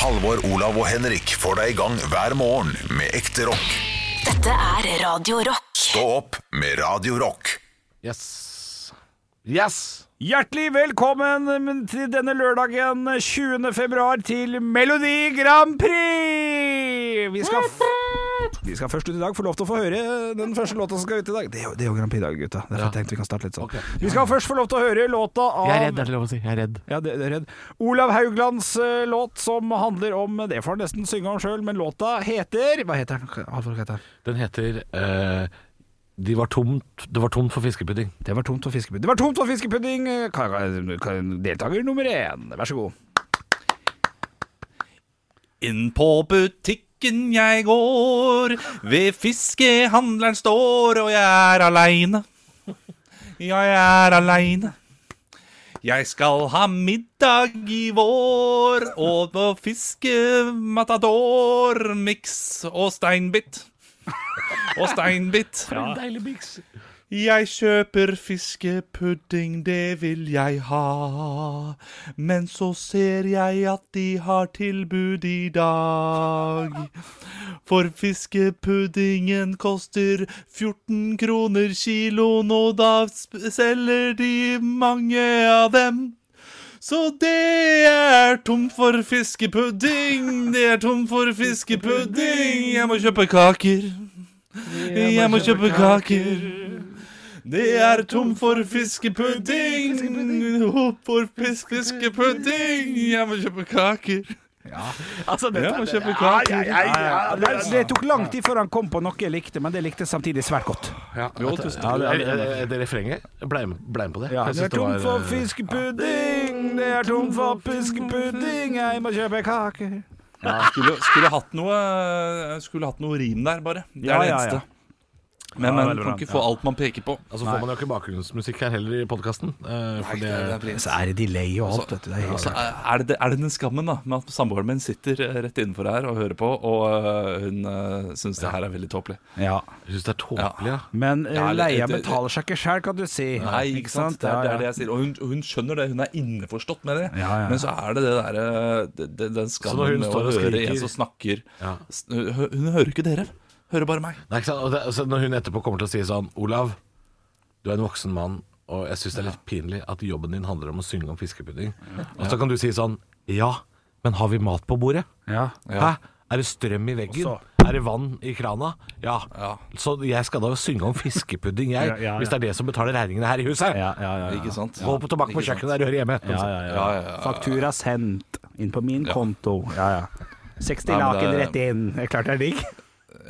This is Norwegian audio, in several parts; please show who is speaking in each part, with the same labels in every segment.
Speaker 1: Halvor, Olav og Henrik får deg i gang hver morgen med ekte rock.
Speaker 2: Dette er Radio Rock.
Speaker 1: Stå opp med Radio Rock.
Speaker 3: Yes. Yes!
Speaker 4: Hjertelig velkommen til denne lørdagen 20. februar til Melodi Grand Prix! Vi skal, f vi skal først ut i dag få lov til å få høre eh, den første låta som skal ut i dag. Det er jo, det er jo Grand Prix i dag, gutta. Derfor
Speaker 3: Ja.
Speaker 4: tenkte vi kan starte litt sånn.
Speaker 3: Ok.
Speaker 4: Vi skal først få lov til å høre låta av
Speaker 3: Jeg er redd, er det lov å si. Jeg er redd.
Speaker 4: Ja, det, det er redd. Olav Hauglands eh, låt som handler om eh, Det får han nesten synge om sjøl, men låta heter Hva heter den? Alvor, hva heter den?
Speaker 3: Den heter eh, de var tomt, Det var tomt for fiskepudding.
Speaker 4: Det var tomt for fiskepudding. Det var tomt for fiskepudding! eh, ka- ka- ka- Deltaker nummer én, vær så god.
Speaker 5: Inn på butikken jeg går, ved fiskehandleren står, og jeg er aleine. Ja, jeg er aleine. Jeg skal ha middag i vår, og på fiskematador, miks og steinbit. Og steinbit.
Speaker 3: En deilig miks.
Speaker 5: Jeg kjøper fiskepudding, det vil jeg ha. Men så ser jeg at de har tilbud i dag. For fiskepuddingen koster 14 kroner kiloen, og da sp- selger de mange av dem. Så det er tomt for fiskepudding, det er tomt for fiskepudding. Jeg må kjøpe kaker. Jeg må kjøpe kaker. Det er tom for fiskepudding. Tom For fis- fiskepudding. Jeg må kjøpe kaker.
Speaker 3: Altså,
Speaker 5: Jeg må kjøpe
Speaker 3: Ja,
Speaker 5: kaker.
Speaker 3: ja, ja, ja.
Speaker 4: Det, det tok lang tid før han kom på noe jeg likte, men det likte jeg samtidig svært godt.
Speaker 3: Jo, tusen takk. Ja, det, det, det refrenget ble med ble med på det.
Speaker 4: Ja,
Speaker 3: Jeg synes
Speaker 4: det er tom
Speaker 3: var,
Speaker 4: for
Speaker 3: eh,
Speaker 4: fiskepudding, det er tom for fiskepudding, jeg må kjøpe kaker.
Speaker 5: Skulle, skulle hatt noe Skulle hatt noe rim der, bare. Det
Speaker 4: Ja,
Speaker 5: er det
Speaker 4: ja, ja.
Speaker 5: eneste. Men
Speaker 4: Ja,
Speaker 5: man
Speaker 4: veldig bra.
Speaker 5: kan ikke få alt man peker på.
Speaker 3: Altså får man jo ikke bakgrunnsmusikk her heller i eh, podkasten.
Speaker 5: Nei, det er- det er pris.
Speaker 4: Så er det delay og alt, vet du. Det er helt
Speaker 5: Så er er det, er det den skammen da med at samboeren min sitter eh, rett innenfor her og hører på, og eh, hun uh, syns det her er veldig tåpelig.
Speaker 4: ja.
Speaker 3: Jeg syns det er tåpelig, ja.
Speaker 4: Men eh,
Speaker 5: Ja, det-
Speaker 4: leia
Speaker 5: det-
Speaker 4: betaler seg ikke sjæl, kan du si.
Speaker 5: Nei, ikke sant? Det
Speaker 4: Ja,
Speaker 5: er, det er det
Speaker 4: ja.
Speaker 5: jeg sier. Og hun, hun skjønner det, hun er innforstått med det.
Speaker 4: Ja, ja, ja.
Speaker 5: Men så er det det derre det- det- Den
Speaker 3: Så når
Speaker 5: skammen
Speaker 3: hun
Speaker 5: med
Speaker 3: står
Speaker 5: å
Speaker 3: og
Speaker 5: høre
Speaker 3: skriker-
Speaker 5: en som snakker
Speaker 3: Ja.
Speaker 5: S- hø- Hun hører ikke dere. Hører bare meg.
Speaker 3: Nei, ikke sant? Og det, så når hun etterpå kommer til å si sånn Olav, du er en voksen mann, og jeg syns det er litt pinlig at jobben din handler om å synge om fiskepudding. Og så kan du si sånn Ja, men har vi mat på bordet?
Speaker 4: Ja.
Speaker 3: Hæ? Er det strøm i veggen?
Speaker 4: Og
Speaker 3: Er det vann i krana? Ja.
Speaker 5: Ja.
Speaker 3: Så jeg skal da synge om fiskepudding, jeg.
Speaker 4: Ja, ja, ja.
Speaker 3: Hvis det er det som betaler regningene her i huset.
Speaker 4: Ja, ja, ja, ja.
Speaker 5: Ikke sant?
Speaker 3: Gå på tobakk på
Speaker 5: Ikke sant?
Speaker 3: kjøkkenet der du hører hjemme.
Speaker 4: Ja, ja, ja.
Speaker 5: Ja, ja, ja.
Speaker 4: Faktura sendt inn på min konto. Ja, ja. 60
Speaker 5: Nei, men
Speaker 4: laken
Speaker 5: det-
Speaker 4: rett inn. Det er klart det er digg.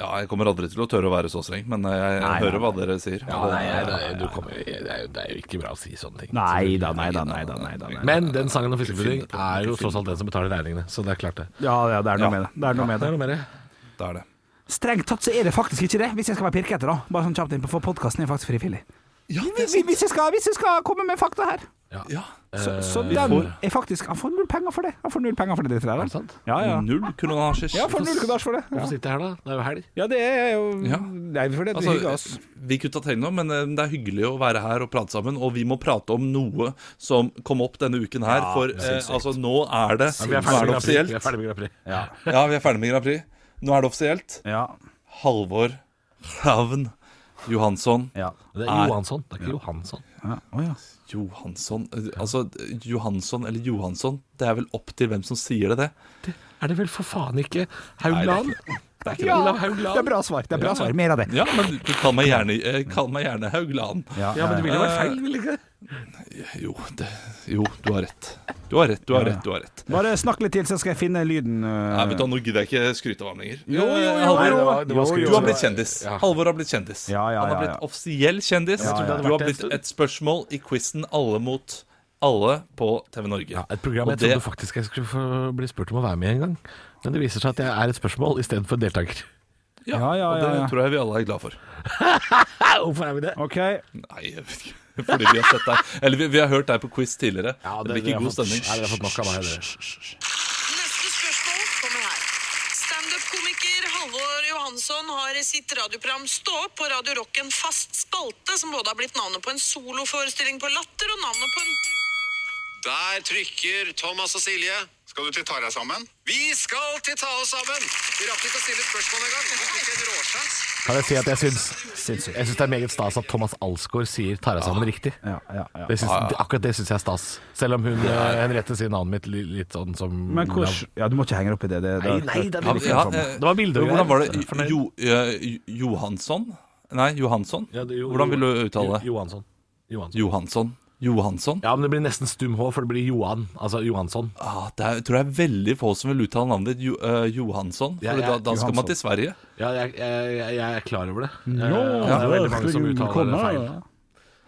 Speaker 5: Ja, jeg kommer aldri til å tørre å være så streng, men eh, jeg
Speaker 4: Nei,
Speaker 5: hører
Speaker 4: nei,
Speaker 5: hva dere sier.
Speaker 3: Ja, nei, det, er, du kommer, det, er jo, det er jo ikke bra å si sånne ting.
Speaker 4: Nei da, nei da, nei da. Nei, da, nei. da.
Speaker 3: Men den sangen om fiskepudding er jo tross alt den som betaler regningene. Så det er klart, det.
Speaker 4: Ja, ja, det er noe
Speaker 5: Ja.
Speaker 4: med det. det, er noe med
Speaker 3: Det
Speaker 4: det.
Speaker 3: er noe mer, det.
Speaker 5: Det er det.
Speaker 4: Strengt tatt så er det faktisk ikke det, hvis jeg skal være pirkete, da. Bare sånn kjapt inn på, for podkasten er faktisk frivillig. hvis, hvis, jeg skal, hvis jeg skal komme med fakta her.
Speaker 3: Ja.
Speaker 5: Ja.
Speaker 4: Så, så
Speaker 3: Eh,
Speaker 4: den er faktisk Han får null penger for det. Han får null penger for det dritt der.
Speaker 3: Er det sant?
Speaker 4: Ja, ja.
Speaker 5: Null kronasjer.
Speaker 4: Ja, han får null kronasj for det. Ja.
Speaker 3: Hvorfor sitter jeg her, da? Det er jo helg.
Speaker 4: ja, det er jo
Speaker 5: Ja.
Speaker 4: Nei, for det
Speaker 5: Altså,
Speaker 4: hygger oss.
Speaker 5: vi kutta til nå, men eh, det er hyggelig å være her og prate sammen. Og vi må prate om noe som kom opp denne uken her. for eh, altså, nå er det,
Speaker 3: Ja,
Speaker 5: nå er det offisielt.
Speaker 3: Vi er ferdig med Grand Prix.
Speaker 5: Ja, vi er ferdig med Grand Prix. Nå er det offisielt.
Speaker 4: Ja.
Speaker 5: Halvor Ravn Johansson.
Speaker 4: ja.
Speaker 3: Det
Speaker 5: Er-
Speaker 3: er Johansson, det er ikke Johansson.
Speaker 4: ja. Å, ja.
Speaker 5: Johansson eh, Altså, eh, Johansson eller Johansson, det er vel opp til hvem som sier det, det.
Speaker 3: Er det vel for faen ikke Haugland? Det er ikke
Speaker 4: Ja,
Speaker 3: Olav
Speaker 4: Det er
Speaker 3: Haugland.
Speaker 4: bra svar. Det er bra svar. Mer av det.
Speaker 5: Ja, men du kall meg gjerne, eh, kall meg gjerne Haugland.
Speaker 3: Ja, men det ville jo vært feil, ville ikke det?
Speaker 5: Jo, det, jo, du har rett. Du har rett, du har rett, du har rett.
Speaker 4: Bare snakk litt til, så skal jeg finne lyden. øh.
Speaker 5: Nei, vet du, hva, Nå gidder jeg ikke skryte av ham lenger.
Speaker 4: Jo, jo, jo,
Speaker 5: Eh,
Speaker 4: jo,
Speaker 5: Halvor,
Speaker 4: jo.
Speaker 5: Du har blitt kjendis. Halvor har blitt kjendis.
Speaker 4: Ja, ja,
Speaker 5: Han har
Speaker 4: ja,
Speaker 5: blitt
Speaker 4: ja.
Speaker 5: offisiell kjendis.
Speaker 3: trodde det hadde
Speaker 5: Du
Speaker 3: vært
Speaker 5: har
Speaker 3: det en
Speaker 5: blitt
Speaker 3: stund.
Speaker 5: et spørsmål i quizen Alle mot alle på TV Norge.
Speaker 3: Ja, et program jeg
Speaker 5: Og det-
Speaker 3: trodde faktisk jeg skulle få bli spurt om å være med i en gang. Men det viser seg at jeg er et spørsmål istedenfor en deltaker.
Speaker 5: Ja,
Speaker 4: Ja, ja,
Speaker 5: og det
Speaker 4: ja, ja.
Speaker 5: tror jeg vi alle er glad for.
Speaker 3: Hvorfor er vi det?
Speaker 4: OK.
Speaker 5: Nei, jeg vet ikke. Fordi vi har sett deg Eller vi, vi har hørt deg på quiz tidligere. det, blir ikke god stemning.
Speaker 3: Nei, dere har fått nok av meg. dere.
Speaker 6: Neste spørsmål kommer her. Standup-komiker Halvor Johansson har i sitt radioprogram Stå opp på Radio Rock en fast spalte som både har blitt navnet på en soloforestilling på Latter og navnet på en
Speaker 7: Der trykker Thomas og Silje. Skal du til ta deg sammen? Vi skal til ta oss sammen! Vi rakk ikke å stille spørsmål engang. Vi fikk en råsjans.
Speaker 3: Kan jeg si at jeg syns Jeg synes det er meget stas at Thomas Alsgaard sier 'tar jeg sammen' riktig.
Speaker 4: Ja, ja, ja.
Speaker 3: Det syns, det- Akkurat det syns jeg er stas. Selv om hun eh, Henriette sier navnet mitt li- litt sånn som
Speaker 4: Men hvordan Ja, du må ikke henge deg opp i det. det, det
Speaker 3: Nei, det er
Speaker 4: det-
Speaker 3: veldig
Speaker 8: Ja,
Speaker 4: det-
Speaker 8: eh,
Speaker 3: Det var bilder
Speaker 8: Hvordan var det? Jo, eh, Jo- Johansson? Nei, Johansson? Hvordan vil du uttale det?
Speaker 3: Johansson. Johansson.
Speaker 8: Johansson. Johansson?
Speaker 3: Ja, men det blir nesten stum H, for det blir Johan. Altså Johansson.
Speaker 8: Ah, det er, jeg tror det er veldig få som vil uttale navnet ditt. Jo, eh, Johansson. For
Speaker 3: Ja, ja,
Speaker 8: da, da skal man
Speaker 4: Johansson.
Speaker 8: til Sverige.
Speaker 3: Ja, jeg, jeg, jeg- jeg er klar over det. Eh,
Speaker 4: Ja,
Speaker 3: det er veldig mange som
Speaker 4: skulle
Speaker 3: uttaler
Speaker 4: komme,
Speaker 3: det feil.
Speaker 4: ja.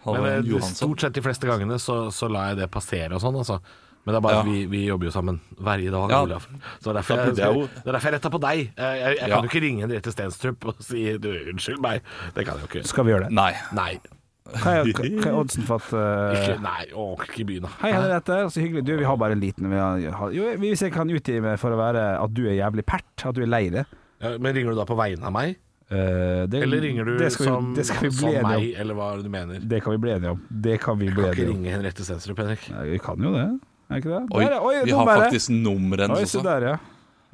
Speaker 8: Halvdan
Speaker 3: Men eh, det-
Speaker 8: Johansson.
Speaker 3: stort sett de fleste gangene så, så lar jeg det passere og sånn, altså. Men det er bare at
Speaker 8: Ja.
Speaker 3: vi, vi jobber jo sammen hver i dag,
Speaker 8: Ja.
Speaker 3: Olav. Så det er derfor
Speaker 8: Da
Speaker 3: jeg,
Speaker 8: burde jeg jo-
Speaker 3: det er derfor jeg retta på deg. Eh, Jeg, jeg
Speaker 8: Ja.
Speaker 3: kan jo ikke ringe Henriette Stenstrup og si du, 'unnskyld meg'. Det kan jeg jo ikke.
Speaker 4: Skal vi gjøre det?
Speaker 8: Nei.
Speaker 3: Nei.
Speaker 4: Hva er, hva er oddsen for at eh,
Speaker 3: Ikke, nei, å, ikke begynn. da.
Speaker 4: Hei, Henriette. Så hyggelig. Du, vi har bare en liten vi har, jo, Hvis jeg kan utgi meg for å være at du er jævlig pert, at du er lei det
Speaker 3: Ja, Men ringer du da på vegne av meg?
Speaker 4: Eh, det-
Speaker 3: Eller ringer du
Speaker 4: det skal vi,
Speaker 3: som,
Speaker 4: det skal vi bli
Speaker 3: som
Speaker 4: enige
Speaker 3: meg,
Speaker 4: om.
Speaker 3: eller hva er det du mener?
Speaker 4: Det kan vi bli enige om. Det kan vi bli
Speaker 3: Kan ikke
Speaker 4: enige om.
Speaker 3: ringe Henriette Stenstrup, Henrik.
Speaker 4: Nei, vi kan jo det, er ikke det?
Speaker 8: Oi,
Speaker 4: Der, ja.
Speaker 8: vi har
Speaker 4: nummeret.
Speaker 8: faktisk nummer hennes
Speaker 4: Oi, se
Speaker 8: også.
Speaker 4: der, ja.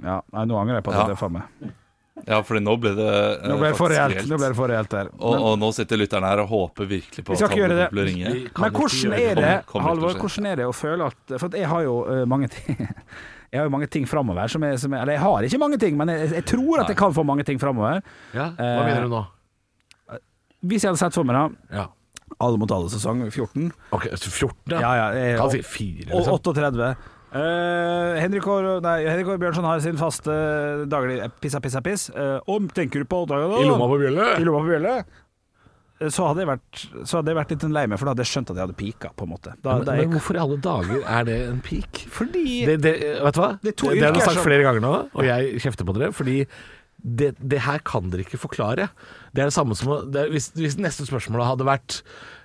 Speaker 4: ja. Nei, nå angrer jeg på at
Speaker 8: Ja.
Speaker 4: det er faen meg.
Speaker 8: Ja, fordi nå ble det eh,
Speaker 4: Nå ble det for
Speaker 8: faktisk
Speaker 4: reelt.
Speaker 8: reelt.
Speaker 4: Nå ble det for reelt der.
Speaker 8: Og, og nå sitter lytteren her og håper virkelig på
Speaker 4: Vi skal
Speaker 8: at han
Speaker 4: ikke gjøre det.
Speaker 8: blir ringe.
Speaker 3: Vi- kan
Speaker 4: Men
Speaker 3: ikke
Speaker 4: hvordan
Speaker 3: gjøre det.
Speaker 4: er det,
Speaker 8: Kommer- kommer
Speaker 4: Halvor,
Speaker 8: til å skje.
Speaker 4: hvordan er det å føle at For at jeg har jo eh, mange ting Jeg har jo mange ting framover som er, som er Eller jeg har ikke mange ting, men jeg, jeg tror at jeg kan få mange ting framover.
Speaker 3: Ja, Hva
Speaker 4: Eh,
Speaker 3: mener du nå?
Speaker 4: Hvis jeg hadde sett for meg da
Speaker 3: Ja.
Speaker 4: Alle mot alle sesong 14
Speaker 3: Ok, så 14,
Speaker 4: Ja, ja, jeg,
Speaker 3: Kan si 4,
Speaker 4: og
Speaker 3: liksom.
Speaker 4: 38 Eh, Henrik, Aar- nei, Henrik Aar Bjørnson har sin faste eh, daglig pissa, pissa, piss. Uh, og tenker du på
Speaker 3: I lomma på
Speaker 4: I
Speaker 3: bjølle?
Speaker 4: lomma på bjelle? Eh, Så hadde, jeg vært, så hadde jeg vært litt lei meg, for da hadde jeg skjønt at jeg hadde pika, på en måte. Da,
Speaker 3: Men,
Speaker 4: da
Speaker 3: men
Speaker 4: jeg,
Speaker 3: hvorfor i alle dager er det en peak?
Speaker 4: fordi
Speaker 3: Det, det, vet du hva?
Speaker 4: Det
Speaker 3: Det,
Speaker 4: er to
Speaker 3: har
Speaker 4: yrker
Speaker 3: jeg sagt
Speaker 4: som-
Speaker 3: flere ganger nå, og jeg kjefter på dere, fordi det, det her kan dere ikke forklare. Det er det samme som å det er, hvis, hvis neste spørsmål hadde vært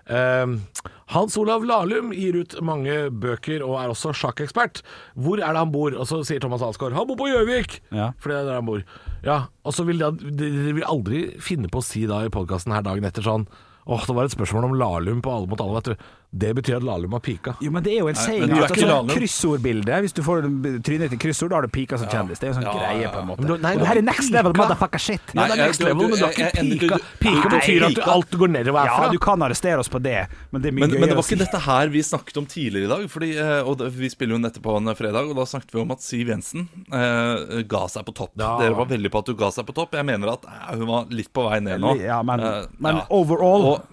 Speaker 3: ehm, Hans Olav Lahlum gir ut mange bøker og er også sjakkekspert. Hvor er det han bor? Og så sier Thomas Alsgaard han bor på Gjøvik!
Speaker 4: Ja.
Speaker 3: For det er der han bor. Ja, Og så vil da- dere vil aldri finne på å si da i podkasten her dagen etter sånn Åh, det var et spørsmål om Lahlum på alle mot alle. Vet du. Det betyr at Lahlum har pika.
Speaker 4: Jo, men det er jo en saying.
Speaker 8: men du er
Speaker 4: at
Speaker 8: ikke
Speaker 4: sånn
Speaker 8: Lahlum.
Speaker 4: kryssordbilde. Hvis du får trynet til kryssord, da har du pika som kjendis. Det er jo sånn
Speaker 8: Ja, ja,
Speaker 4: greie,
Speaker 8: ja.
Speaker 4: på en måte.
Speaker 3: Men du- nei, du
Speaker 4: Og det her
Speaker 3: har
Speaker 4: er next level
Speaker 3: pika.
Speaker 4: motherfucker shit.
Speaker 8: Nei,
Speaker 3: Nei, det er
Speaker 8: jeg-
Speaker 3: next level,
Speaker 8: du-
Speaker 3: men du har
Speaker 8: jeg- jeg-
Speaker 3: ikke
Speaker 8: jeg-
Speaker 3: pika.
Speaker 8: du-
Speaker 3: Pika
Speaker 8: Nei,
Speaker 3: betyr at du-
Speaker 8: pika.
Speaker 3: alt går nedover
Speaker 4: Ja,
Speaker 3: herfra.
Speaker 4: du kan arrestere oss på det, men det er
Speaker 8: Men,
Speaker 4: mye
Speaker 8: men det
Speaker 4: gøyere
Speaker 8: var ikke dette her vi snakket om tidligere i dag. Fordi, eh, og det, vi spiller jo nettopp på en fredag, og da snakket vi om at Siv Jensen eh, ga seg på topp.
Speaker 3: Ja.
Speaker 8: Dere var veldig på at du ga seg på topp. Jeg mener at eh, hun var litt på vei ned nå.
Speaker 4: Ja, men,
Speaker 8: Eh,
Speaker 4: men
Speaker 8: ja.
Speaker 4: overall
Speaker 8: Og-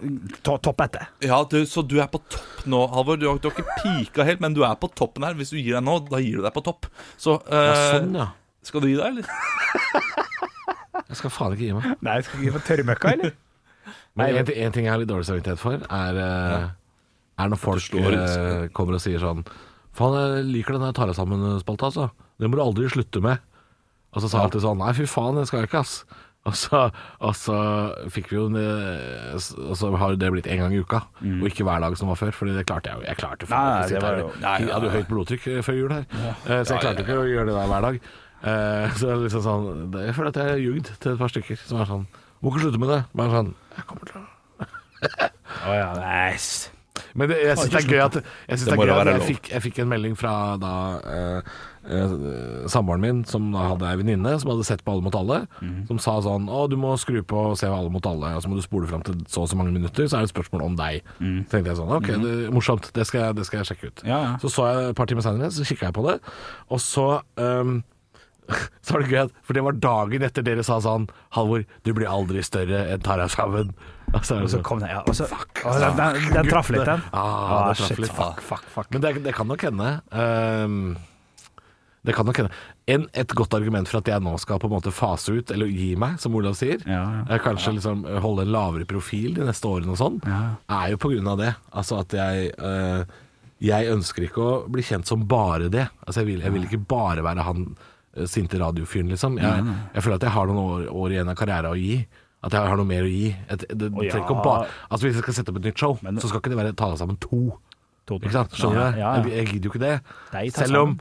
Speaker 4: to, toppete.
Speaker 8: ja, du, Så du er på topp nå, Halvor. Du har, du har ikke pika helt, men du er på toppen her. Hvis du gir deg nå, da gir du deg på topp. Så
Speaker 3: Ja,
Speaker 8: eh,
Speaker 3: sånn, ja.
Speaker 8: skal du gi deg, eller?
Speaker 3: Jeg skal faen ikke gi meg.
Speaker 4: Nei, skal vi få tørrmøkka, eller?
Speaker 3: Men en, ti- en ting jeg har litt dårlig samvittighet for, er, eh, er når folk
Speaker 8: slår-
Speaker 3: eh, kommer og sier sånn Faen, jeg liker den der Tare sammen-spalta, altså. Den må du aldri slutte med. Og så sa jeg alltid sånn Nei, fy faen, den skal jeg ikke, ass. Og så, og så fikk vi jo en, eh, s- Og så har det blitt en gang i uka, og ikke hver dag som var før. Fordi det klarte jeg jo. Jeg klarte faen ikke å
Speaker 4: Mm. Nei, det
Speaker 3: sitte
Speaker 4: var
Speaker 3: her.
Speaker 4: jo-
Speaker 8: Nei,
Speaker 3: Jeg hadde jo høyt blodtrykk eh, før jul her, Eh, så jeg klarte ikke å gjøre det der hver dag. Eh, Så det er liksom sånn det- Jeg føler at jeg har ljugd til et par stykker som er sånn Må ikke slutte med det. Bare sånn Jeg kommer til å
Speaker 4: Å ja, nice.
Speaker 3: men det, jeg syns det er gøy at jeg, synes
Speaker 8: Det
Speaker 3: det
Speaker 8: må
Speaker 3: er gøy
Speaker 8: da
Speaker 3: at
Speaker 8: være
Speaker 3: jeg,
Speaker 8: lov.
Speaker 3: fikk, jeg fikk en melding fra da eh, eh, samboeren min, som da hadde ei venninne som hadde sett på Alle mot alle,
Speaker 8: Mhm.
Speaker 3: som sa sånn Å, du må skru på og se Alle mot alle, og så må du spole fram til så og så mange minutter, så er det et spørsmål om deg.
Speaker 8: Mhm.
Speaker 3: Så tenkte jeg sånn OK, det, morsomt, det skal, jeg- det skal jeg sjekke ut.
Speaker 4: Ja, ja.
Speaker 3: Så så jeg et par timer seinere, så kikka jeg på det, og så ehm, så var det gøy, at- for det var dagen etter dere sa sånn Halvor, du blir aldri større enn Tara sammen. Og så er det
Speaker 4: Så
Speaker 3: sånn,
Speaker 4: kom den, ja. Og så,
Speaker 8: altså.
Speaker 4: Å, den, den, den traff litt, den.
Speaker 3: Ah, den traff
Speaker 4: shit,
Speaker 3: litt.
Speaker 4: Fuck, fuck, fuck.
Speaker 3: Men det, det kan nok hende ehm, Det kan nok hende en, Et godt argument for at jeg nå skal på en måte fase ut Eller gi meg, som Olav sier
Speaker 4: Ja,
Speaker 3: eh, Kanskje liksom holde en lavere profil De neste årene og sånn Er jo på grunn av det Altså at jeg eh, Jeg ønsker ikke å bli kjent som bare det Altså jeg vil, jeg vil ikke bare være han eh, Sinte radiofyren liksom jeg, jeg føler at jeg har noen år, år igjen av karriere å gi at jeg har noe mer å gi Et- det, det, trenger ikke å ba, Altså Hvis jeg skal sette opp et nytt show Så skal ikke det være Tale sammen 2 ikke sant? Skjønner du?
Speaker 4: Ja, ja.
Speaker 3: Jeg, jeg gidder jo ikke
Speaker 4: Nei,
Speaker 3: det.
Speaker 4: ta
Speaker 3: Selv om,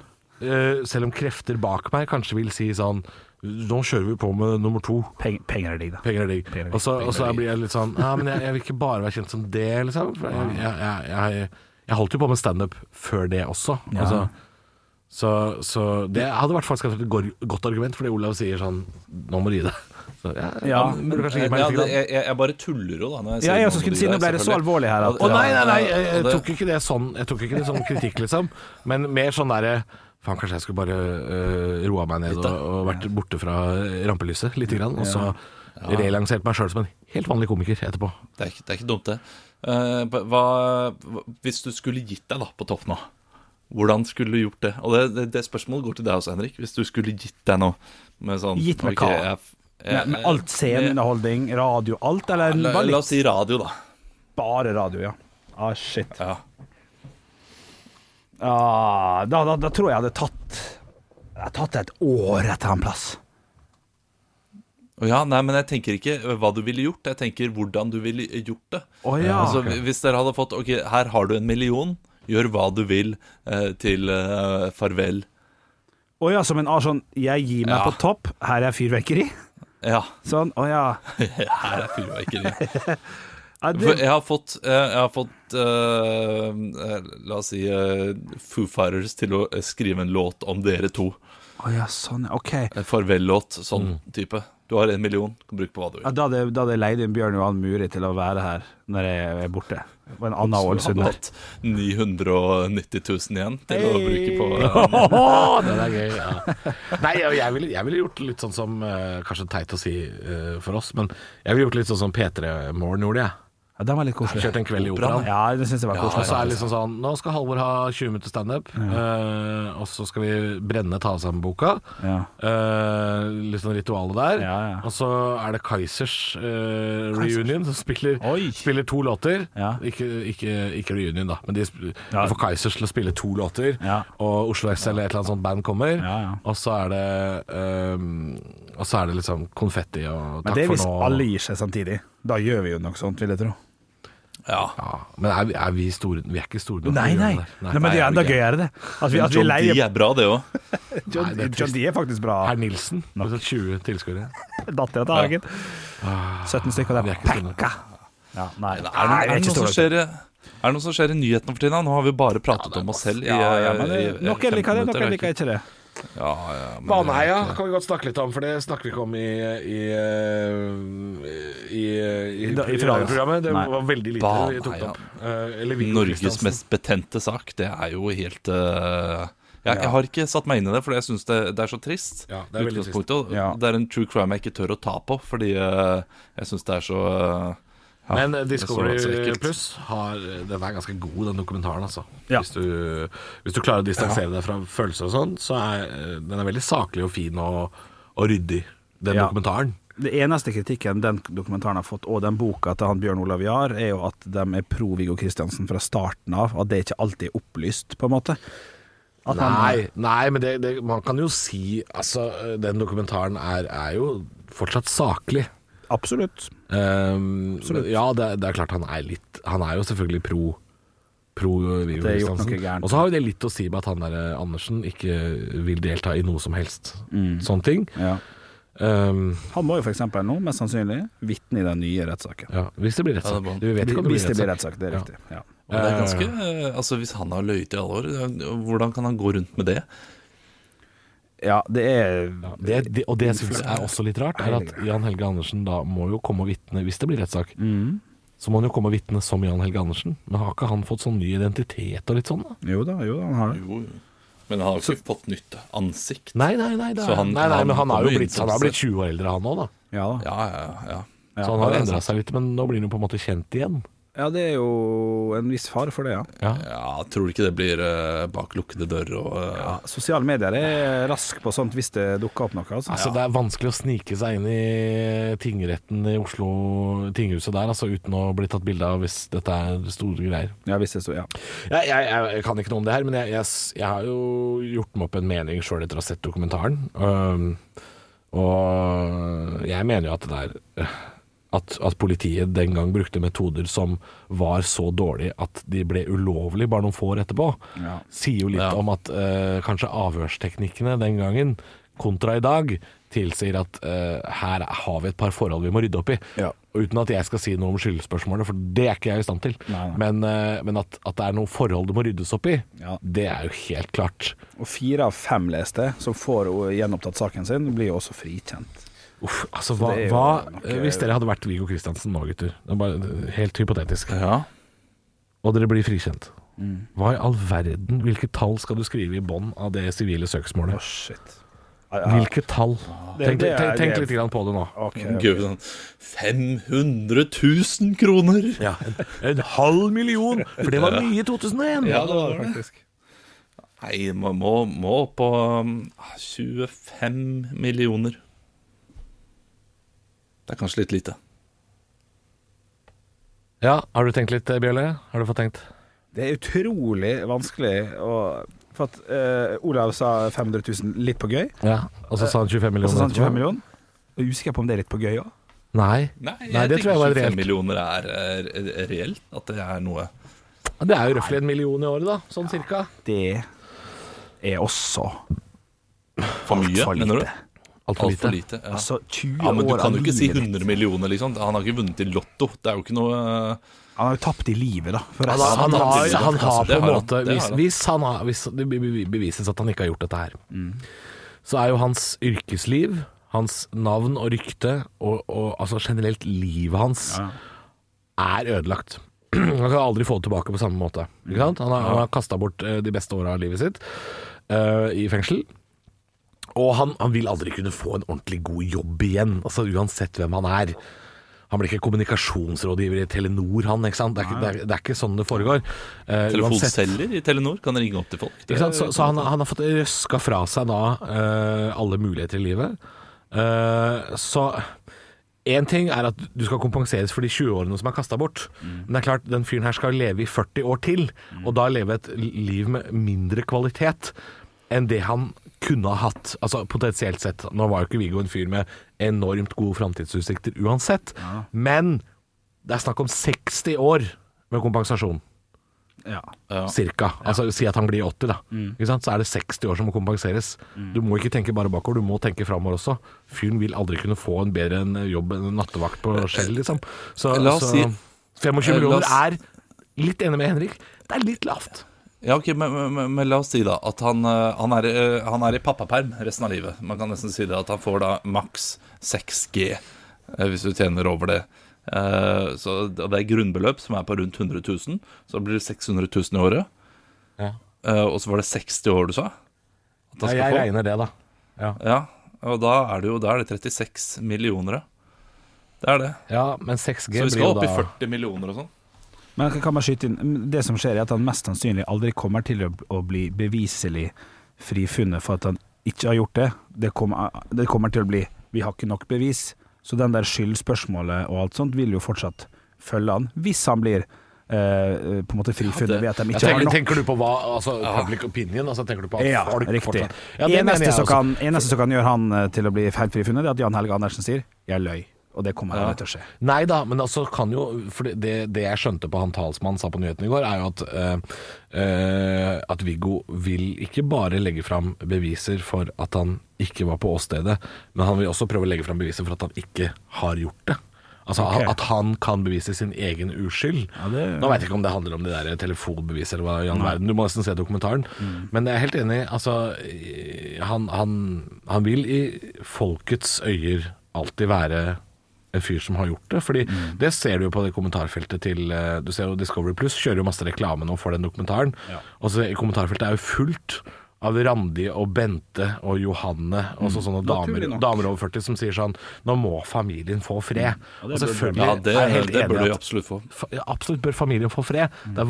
Speaker 3: eh, selv om krefter bak meg kanskje vil si sånn Nå kjører vi på med nummer to.
Speaker 4: Peng, penger er digg, da.
Speaker 3: Penger er digg.
Speaker 4: Penger er digg,
Speaker 3: Og så og så
Speaker 4: penger er digg.
Speaker 3: blir jeg litt sånn Ja, men jeg, jeg vil ikke bare være kjent som det, liksom. For jeg, jeg, jeg, jeg, jeg holdt jo på med standup før det også. Altså, Så, så det hadde vært faktisk et gor- godt argument, fordi Olav sier sånn Nå må du gi deg. Så, ja,
Speaker 4: Ja.
Speaker 3: han burde kanskje gi meg
Speaker 5: Ja,
Speaker 3: litt.
Speaker 5: det,
Speaker 3: grann.
Speaker 5: jeg, jeg jeg bare tuller jo, da. Når jeg
Speaker 4: Ja, jeg
Speaker 5: noe
Speaker 4: også
Speaker 5: om
Speaker 4: skulle
Speaker 5: de
Speaker 4: si,
Speaker 5: der,
Speaker 4: nå ble det så
Speaker 5: selvfølgelig.
Speaker 4: alvorlig her at-
Speaker 5: Ja,
Speaker 3: Å nei, nei, nei, jeg,
Speaker 5: og
Speaker 3: jeg
Speaker 5: det-
Speaker 3: tok ikke det sånn Jeg tok ikke det sånn kritikk, liksom. Men mer sånn derre Faen, kanskje jeg skulle bare øh, roa meg ned og, og vært borte fra rampelyset lite grann. Og så relansert meg sjøl som en helt vanlig komiker etterpå.
Speaker 5: Det er, ikke, det er ikke dumt, det. Eh, hva, hva, hvis du skulle gitt deg da på topp nå, hvordan skulle du gjort det? Og det, det, det spørsmålet går til deg også, Henrik. Hvis du skulle gitt deg nå med sånn
Speaker 4: Gitt meg
Speaker 5: ok,
Speaker 4: hva?
Speaker 5: jeg- jeg-
Speaker 4: Med, med alt sceneunderholdning, radio, alt, eller
Speaker 5: La,
Speaker 4: bare
Speaker 5: la
Speaker 4: litt,
Speaker 5: oss si radio, da.
Speaker 4: bare radio, ja. Ah, shit.
Speaker 5: Ja.
Speaker 4: Ah, da, da, da tror jeg jeg hadde tatt Jeg hadde tatt et år etter en plass.
Speaker 5: Å ja, nei, men jeg tenker ikke hva du ville gjort, jeg tenker hvordan du ville gjort det.
Speaker 4: Å ja.
Speaker 5: altså, Hvis dere hadde fått Ok, her har du en million, gjør hva du vil eh, til eh, farvel.
Speaker 4: Å ja, som en ah, sånn Jeg gir meg
Speaker 5: Ja.
Speaker 4: på topp, her er fyrverkeri.
Speaker 5: Ja,
Speaker 4: Sånn, å ja.
Speaker 5: her er fyrverkeri.
Speaker 4: Ja,
Speaker 5: For
Speaker 4: det,
Speaker 5: Jeg har fått, eh, jeg har fått eh, eh, La oss si eh, Foo Fighters til å eh, skrive en låt om dere to.
Speaker 4: å ja, sånn, ja. OK.
Speaker 5: En farvel-låt, sånn type. Du har en million, kan bruke på hva du
Speaker 4: Mm. Ja,
Speaker 5: vil.
Speaker 4: da hadde da hadde jeg leid inn Bjørn Johan Muri til å være her når jeg er borte. Og en annen
Speaker 5: Så du hadde
Speaker 4: ålesunder.
Speaker 5: hatt 990 000 igjen til å bruke på eh,
Speaker 3: Åh, det er gøy. Ja. Nei, jeg, jeg, ville, jeg ville gjort litt sånn som eh, Kanskje teit å si eh, for oss, men jeg ville gjort litt sånn som P3 Morgen gjorde, jeg.
Speaker 4: Ja, den var litt koselig.
Speaker 3: Kjørte en kveld i operaen.
Speaker 4: Ja, det syns jeg var
Speaker 3: Og
Speaker 4: koselig.
Speaker 3: så er det liksom sånn Nå skal Halvor ha 20 minutter standup, eh, og så skal vi brenne Ta oss sammen-boka.
Speaker 4: Ja.
Speaker 3: Eh, litt sånn ritualet der.
Speaker 4: Ja, ja.
Speaker 3: Og så er det Kaizers eh, reunion, som spiller,
Speaker 4: Oi.
Speaker 3: spiller to låter.
Speaker 4: Ja.
Speaker 3: Ikke, ikke, ikke reunion, da, men de sp-
Speaker 4: Ja.
Speaker 3: får Kaizers til å spille to låter,
Speaker 4: Ja.
Speaker 3: og Oslo S eller et eller annet sånt band kommer,
Speaker 4: Ja, ja.
Speaker 3: og så er det eh, Og så er det liksom konfetti og
Speaker 4: Men
Speaker 3: takk
Speaker 4: det er
Speaker 3: for
Speaker 4: hvis
Speaker 3: nå.
Speaker 4: alle gir seg samtidig. Da gjør vi jo noe sånt, vil jeg tro.
Speaker 5: Ja.
Speaker 3: ja, men er, vi- er vi store Vi er ikke store nok.
Speaker 4: Nei,
Speaker 3: til å
Speaker 4: nei.
Speaker 3: gjøre det.
Speaker 4: nei men det er enda gøyere, det. At vi, at vi
Speaker 5: John D
Speaker 4: leier
Speaker 5: er bra, det òg.
Speaker 4: John,
Speaker 3: det er
Speaker 4: John D er faktisk bra.
Speaker 3: Herr Nilsen. Altså 20 tilskuere.
Speaker 4: Dattera til Hagen. 17 stykker
Speaker 3: vi
Speaker 4: der.
Speaker 3: er ikke store nok.
Speaker 4: Pekka! Ja, nei,
Speaker 5: Er det,
Speaker 4: Nei, vi
Speaker 5: er, det
Speaker 4: ikke
Speaker 5: noe som
Speaker 4: store nok.
Speaker 5: skjer, i- er det noe som skjer i nyhetene for tiden? Nå har vi bare pratet om oss selv i, eh,
Speaker 4: Ja, ja,
Speaker 3: eh,
Speaker 4: men
Speaker 5: i,
Speaker 4: det-
Speaker 5: i
Speaker 4: Noen liker det,
Speaker 5: 15 minutter,
Speaker 4: noen
Speaker 5: er det
Speaker 4: liker
Speaker 5: ikke?
Speaker 4: ikke det.
Speaker 5: Ja, ja, men
Speaker 3: Baneheia kan vi godt snakke litt om, for det snakker vi ikke om i I, eh, i, i,
Speaker 4: Da- i
Speaker 3: i
Speaker 4: fredags.
Speaker 3: radioprogrammet. Det
Speaker 4: Nei.
Speaker 3: var veldig lite
Speaker 5: Baneheia.
Speaker 3: vi tok det opp. Eh, eller Viggo
Speaker 5: Norges
Speaker 3: Kristiansen.
Speaker 5: mest betente sak, det er jo helt eh, jeg, jeg har ikke satt meg inn i det, for jeg syns det, det er så trist.
Speaker 3: Ja, det er veldig trist.
Speaker 5: utgangspunktet, og
Speaker 4: Ja.
Speaker 5: det er en true crime jeg ikke tør å ta på, fordi eh, jeg syns det er så eh, ja,
Speaker 3: Men eh,
Speaker 5: det er så- så
Speaker 3: Discovery
Speaker 5: ekkelt.
Speaker 3: Pluss har eh, Den er ganske god, den dokumentaren, altså.
Speaker 4: Ja.
Speaker 3: Hvis, du, hvis du klarer å distansere deg fra følelser og sånn, så er eh, den er veldig saklig og fin og, og ryddig, den
Speaker 4: Ja.
Speaker 3: dokumentaren.
Speaker 4: Det eneste kritikken den dokumentaren har fått, og den boka til han Bjørn Olav Jahr, er jo at de er pro Viggo Kristiansen fra starten av. At det ikke alltid er opplyst, på en måte. At man-
Speaker 3: Nei, nei men det, det, man kan jo si Altså, den dokumentaren er, er jo fortsatt saklig.
Speaker 4: Absolutt.
Speaker 3: Um, men ja, det, det er klart han er litt Han er jo selvfølgelig pro Pro Viggo
Speaker 4: Det er gjort noe
Speaker 3: Kristiansen.
Speaker 4: gærent.
Speaker 3: Og så har jo det litt å si med at han der eh, Andersen ikke vil delta i noe som helst
Speaker 4: Mm.
Speaker 3: sånne ting.
Speaker 4: Ja.
Speaker 3: Um,
Speaker 4: Han må jo f.eks. nå, mest sannsynlig, vitne i den nye rettssaken.
Speaker 3: ja, hvis det blir
Speaker 5: Ja,
Speaker 3: rettssak.
Speaker 5: det er bra.
Speaker 3: vi vet ikke om det
Speaker 4: Hvis det
Speaker 3: blir
Speaker 4: blir
Speaker 3: rettssak.
Speaker 4: rettssak, det er
Speaker 3: Ja.
Speaker 4: riktig. Ja.
Speaker 5: Og det er ganske, eh, altså Hvis han har løyet i alle år, eh, hvordan kan han gå rundt med det?
Speaker 4: ja, det er
Speaker 3: Det, det, og det jeg syns er også litt rart, er at Jan Helge Andersen da må jo komme og vitne hvis det blir rettssak.
Speaker 4: Mm.
Speaker 3: Så må han jo komme og vitne som Jan Helge Andersen. Men har ikke han fått sånn ny identitet og litt sånn, da?
Speaker 4: Jo da, jo da, han har det.
Speaker 5: Jo, Men han har jo ikke fått nytt ansikt.
Speaker 3: Nei, nei, nei. Det
Speaker 5: Så
Speaker 3: er,
Speaker 5: han-
Speaker 3: nei, nei men han har
Speaker 5: han
Speaker 3: jo blitt, han har blitt
Speaker 5: begynte
Speaker 3: 20 år eldre, han òg, da.
Speaker 4: Ja, da.
Speaker 5: Ja, ja, ja.
Speaker 3: Så han har
Speaker 5: Ja, det er
Speaker 3: endra seg litt, men nå blir han jo på en måte kjent igjen.
Speaker 4: ja, det er jo en viss fare for det, ja.
Speaker 5: Ja, Tror du ikke det blir eh, bak lukkede dører og eh,
Speaker 4: ja. Sosiale medier er rask på sånt hvis det dukker opp noe. Altså.
Speaker 3: Altså, Det er vanskelig å snike seg inn i tingretten i Oslo, tinghuset der, altså uten å bli tatt bilde av hvis dette er store greier.
Speaker 4: Ja, hvis det så, ja.
Speaker 3: Jeg, jeg, jeg kan ikke noe om det her, men jeg, jeg, s- jeg har jo gjort meg opp en mening sjøl etter å ha sett dokumentaren. Um, og jeg mener jo at det der at, at politiet den gang brukte metoder som var så dårlige at de ble ulovlige bare noen få år etterpå,
Speaker 4: Ja.
Speaker 3: sier jo litt øh,
Speaker 5: Ja.
Speaker 3: om at eh, kanskje avhørsteknikkene den gangen kontra i dag tilsier at eh, her har vi et par forhold vi må rydde opp i.
Speaker 4: Ja.
Speaker 3: Og Uten at jeg skal si noe om skyldspørsmålet, for det er ikke jeg i stand til.
Speaker 4: Nei, nei.
Speaker 3: Men, eh, men at, at det er noen forhold det må ryddes opp i,
Speaker 4: Ja.
Speaker 3: det er jo helt klart.
Speaker 4: Og fire av fem leste som får o- gjenopptatt saken sin, blir jo også frikjent.
Speaker 3: Uff, altså hva,
Speaker 4: det er jo
Speaker 3: hva
Speaker 4: nok,
Speaker 3: eh, Hvis dere hadde vært Viggo Kristiansen nå, gutter, det er bare eh, helt hypotetisk,
Speaker 5: Ja.
Speaker 3: og dere blir frikjent.
Speaker 4: Mm.
Speaker 3: Hva i all verden, hvilke tall skal du skrive i bånn av det sivile søksmålet?
Speaker 4: Shit.
Speaker 3: Hvilke tall?
Speaker 4: Det-
Speaker 3: Tenk,
Speaker 4: det er-
Speaker 3: tenk,
Speaker 4: det
Speaker 3: tenk
Speaker 4: er-
Speaker 3: litt grann på det nå.
Speaker 4: Ok.
Speaker 5: Gud, sånn 500 000 kroner!
Speaker 3: Ja, en, en halv million, for det var mye i 2001.
Speaker 5: Ja, det var det. Nei, man må, må opp på um, 25 millioner. Det er kanskje litt lite.
Speaker 3: Ja, Har du tenkt litt, eh, Bjørle? Har du fått tenkt?
Speaker 4: Det er utrolig vanskelig å For at eh, Olav sa 500 000 litt på gøy,
Speaker 3: Ja, Og så sa han 25
Speaker 4: og så
Speaker 3: millioner.
Speaker 4: sa han
Speaker 3: etterpå.
Speaker 4: 25 millioner. Jeg er Usikker på om det er litt på gøy òg.
Speaker 3: Nei.
Speaker 5: Nei, jeg
Speaker 3: Nei, det
Speaker 5: tenker
Speaker 3: tror jeg var
Speaker 5: 25
Speaker 3: reelt.
Speaker 5: millioner er, er, er reelt. At det er noe
Speaker 3: Det er jo røftlig en million i året, da. Sånn cirka.
Speaker 4: Det er også
Speaker 5: for mye,
Speaker 4: for
Speaker 5: mener du?
Speaker 4: lite.
Speaker 3: Altfor
Speaker 5: Altfor
Speaker 3: lite.
Speaker 5: lite. Ja.
Speaker 4: altså 20
Speaker 5: ja, men du
Speaker 4: år av
Speaker 5: kan jo ikke si
Speaker 4: livet ditt.
Speaker 5: 100 millioner, liksom. Han har ikke vunnet i Lotto. Det er jo ikke noe eh,
Speaker 4: Han har jo tapt i livet, da. For
Speaker 3: Han,
Speaker 4: resten.
Speaker 3: har- han,
Speaker 5: har
Speaker 3: har,
Speaker 5: tatt
Speaker 3: han har
Speaker 5: det.
Speaker 3: på
Speaker 5: altså. Det
Speaker 3: en
Speaker 5: har han.
Speaker 3: måte
Speaker 5: Det har
Speaker 3: Hvis,
Speaker 5: han.
Speaker 3: hvis, han har, hvis det be- be- bevises at han ikke har gjort dette her,
Speaker 5: Mm.
Speaker 3: så er jo hans yrkesliv, hans navn og rykte, og, og altså generelt livet hans, er ødelagt. Han kan aldri få det tilbake på samme måte.
Speaker 5: Mm.
Speaker 3: Ikke sant? Han har, han har kasta bort eh, de beste åra av livet sitt eh, i fengsel. Og han, han vil aldri kunne få en ordentlig god jobb igjen, altså uansett hvem han er. Han blir ikke kommunikasjonsrådgiver i Telenor, han. ikke sant? Det er ikke, det er, det er ikke sånn det foregår. Eh, uansett.
Speaker 5: Telefonselger i Telenor kan ringe opp til folk. Det-
Speaker 3: Ikke sant? Så, så han, han har fått røska fra seg da eh, alle muligheter i livet. Eh, så én ting er at du skal kompenseres for de 20 årene som er kasta bort. Men det er klart, den fyren her skal leve i 40 år til, og da leve et liv med mindre kvalitet enn det han kunne ha hatt, altså potensielt sett. Nå var jo ikke Viggo en fyr med enormt gode framtidsutsikter uansett, men det er snakk om 60 år med kompensasjon
Speaker 4: Ja.
Speaker 3: cirka. Altså Si at han blir 80, da.
Speaker 5: Mm.
Speaker 3: Ikke sant? Så er det 60 år som må kompenseres. Du må ikke tenke bare bakover, du må tenke framover også. Fyren vil aldri kunne få en bedre enn jobb enn en nattevakt på Skjell, liksom. Så,
Speaker 5: Eh, La oss
Speaker 3: så
Speaker 5: si-
Speaker 3: 25
Speaker 5: Eh, la
Speaker 3: millioner
Speaker 5: oss-
Speaker 3: er Litt enig med Henrik, det er litt lavt.
Speaker 5: Ja, ok, men, men- men, men la oss si da at han, eh, han, er, eh, han er i pappaperm resten av livet. Man kan nesten si det at han får da maks 6G eh, hvis du tjener over det. Eh, Så det det er grunnbeløp som er på rundt 100 000. Så blir det 600 000 i året.
Speaker 3: Ja.
Speaker 5: Eh, Og så var det 60 år du sa? At han skal
Speaker 3: jeg
Speaker 5: få.
Speaker 3: regner det, da.
Speaker 5: Ja, og da er det jo da er det 36 millioner, ja. Det er det.
Speaker 3: Ja, men 6G
Speaker 5: Så vi
Speaker 3: blir
Speaker 5: skal
Speaker 3: jo
Speaker 5: opp
Speaker 3: da
Speaker 5: i 40 millioner og sånn.
Speaker 4: Men jeg kan bare skyte inn Det som skjer, er at han mest sannsynlig aldri kommer til å, å bli beviselig frifunnet for at han ikke har gjort det. Det kommer, det kommer til å bli Vi har ikke nok bevis. Så den der skyldspørsmålet og alt sånt vil jo fortsatt følge han, hvis han blir eh, på en måte frifunnet ved at de ikke har
Speaker 3: tenker,
Speaker 4: nok.
Speaker 3: tenker du på hva Altså public opinion? Altså tenker du på at
Speaker 4: Ja,
Speaker 3: folk
Speaker 4: riktig.
Speaker 3: fortsatt Ja,
Speaker 5: E
Speaker 3: det mener
Speaker 4: eneste,
Speaker 3: jeg
Speaker 4: som
Speaker 3: også.
Speaker 4: kan, eneste som kan gjøre han eh, til å bli feil frifunnet, det er at Jan Helge Andersen sier 'jeg løy'. Og det kommer aldri til å skje.
Speaker 3: Nei da, men altså kan jo For det, det, det jeg skjønte på han talsmannen sa på nyheten i går, er jo at eh, eh, At Viggo vil ikke bare legge fram beviser for at han ikke var på åstedet, men han vil også prøve å legge fram beviser for at han ikke har gjort det. Altså
Speaker 4: Ok.
Speaker 3: at han kan bevise sin egen uskyld.
Speaker 4: det-
Speaker 3: Nå veit jeg ikke om det handler om det der telefonbeviset eller hva i all verden. Du må nesten se dokumentaren.
Speaker 4: Mm.
Speaker 3: Men jeg er helt enig. Altså, i- han, han, han vil i folkets øyer alltid være en fyr som har gjort det. Fordi
Speaker 4: Mm.
Speaker 3: det ser du jo på det kommentarfeltet til eh, Du ser jo Discovery Pluss kjører jo masse reklame nå for den dokumentaren. Og så i kommentarfeltet er jo fullt av Randi og Bente og Johanne og så sånne damer,
Speaker 4: Mm. Naturlig nok.
Speaker 3: damer over 40 som sier sånn Nå må familien få fred. og, selvfølgelig
Speaker 5: Ja, det,
Speaker 3: er jeg helt
Speaker 5: det
Speaker 3: enig
Speaker 5: burde
Speaker 3: i
Speaker 5: vi
Speaker 3: at
Speaker 5: absolutt få.
Speaker 3: fa- absolutt bør familien få fred.
Speaker 4: Mm.
Speaker 3: Det er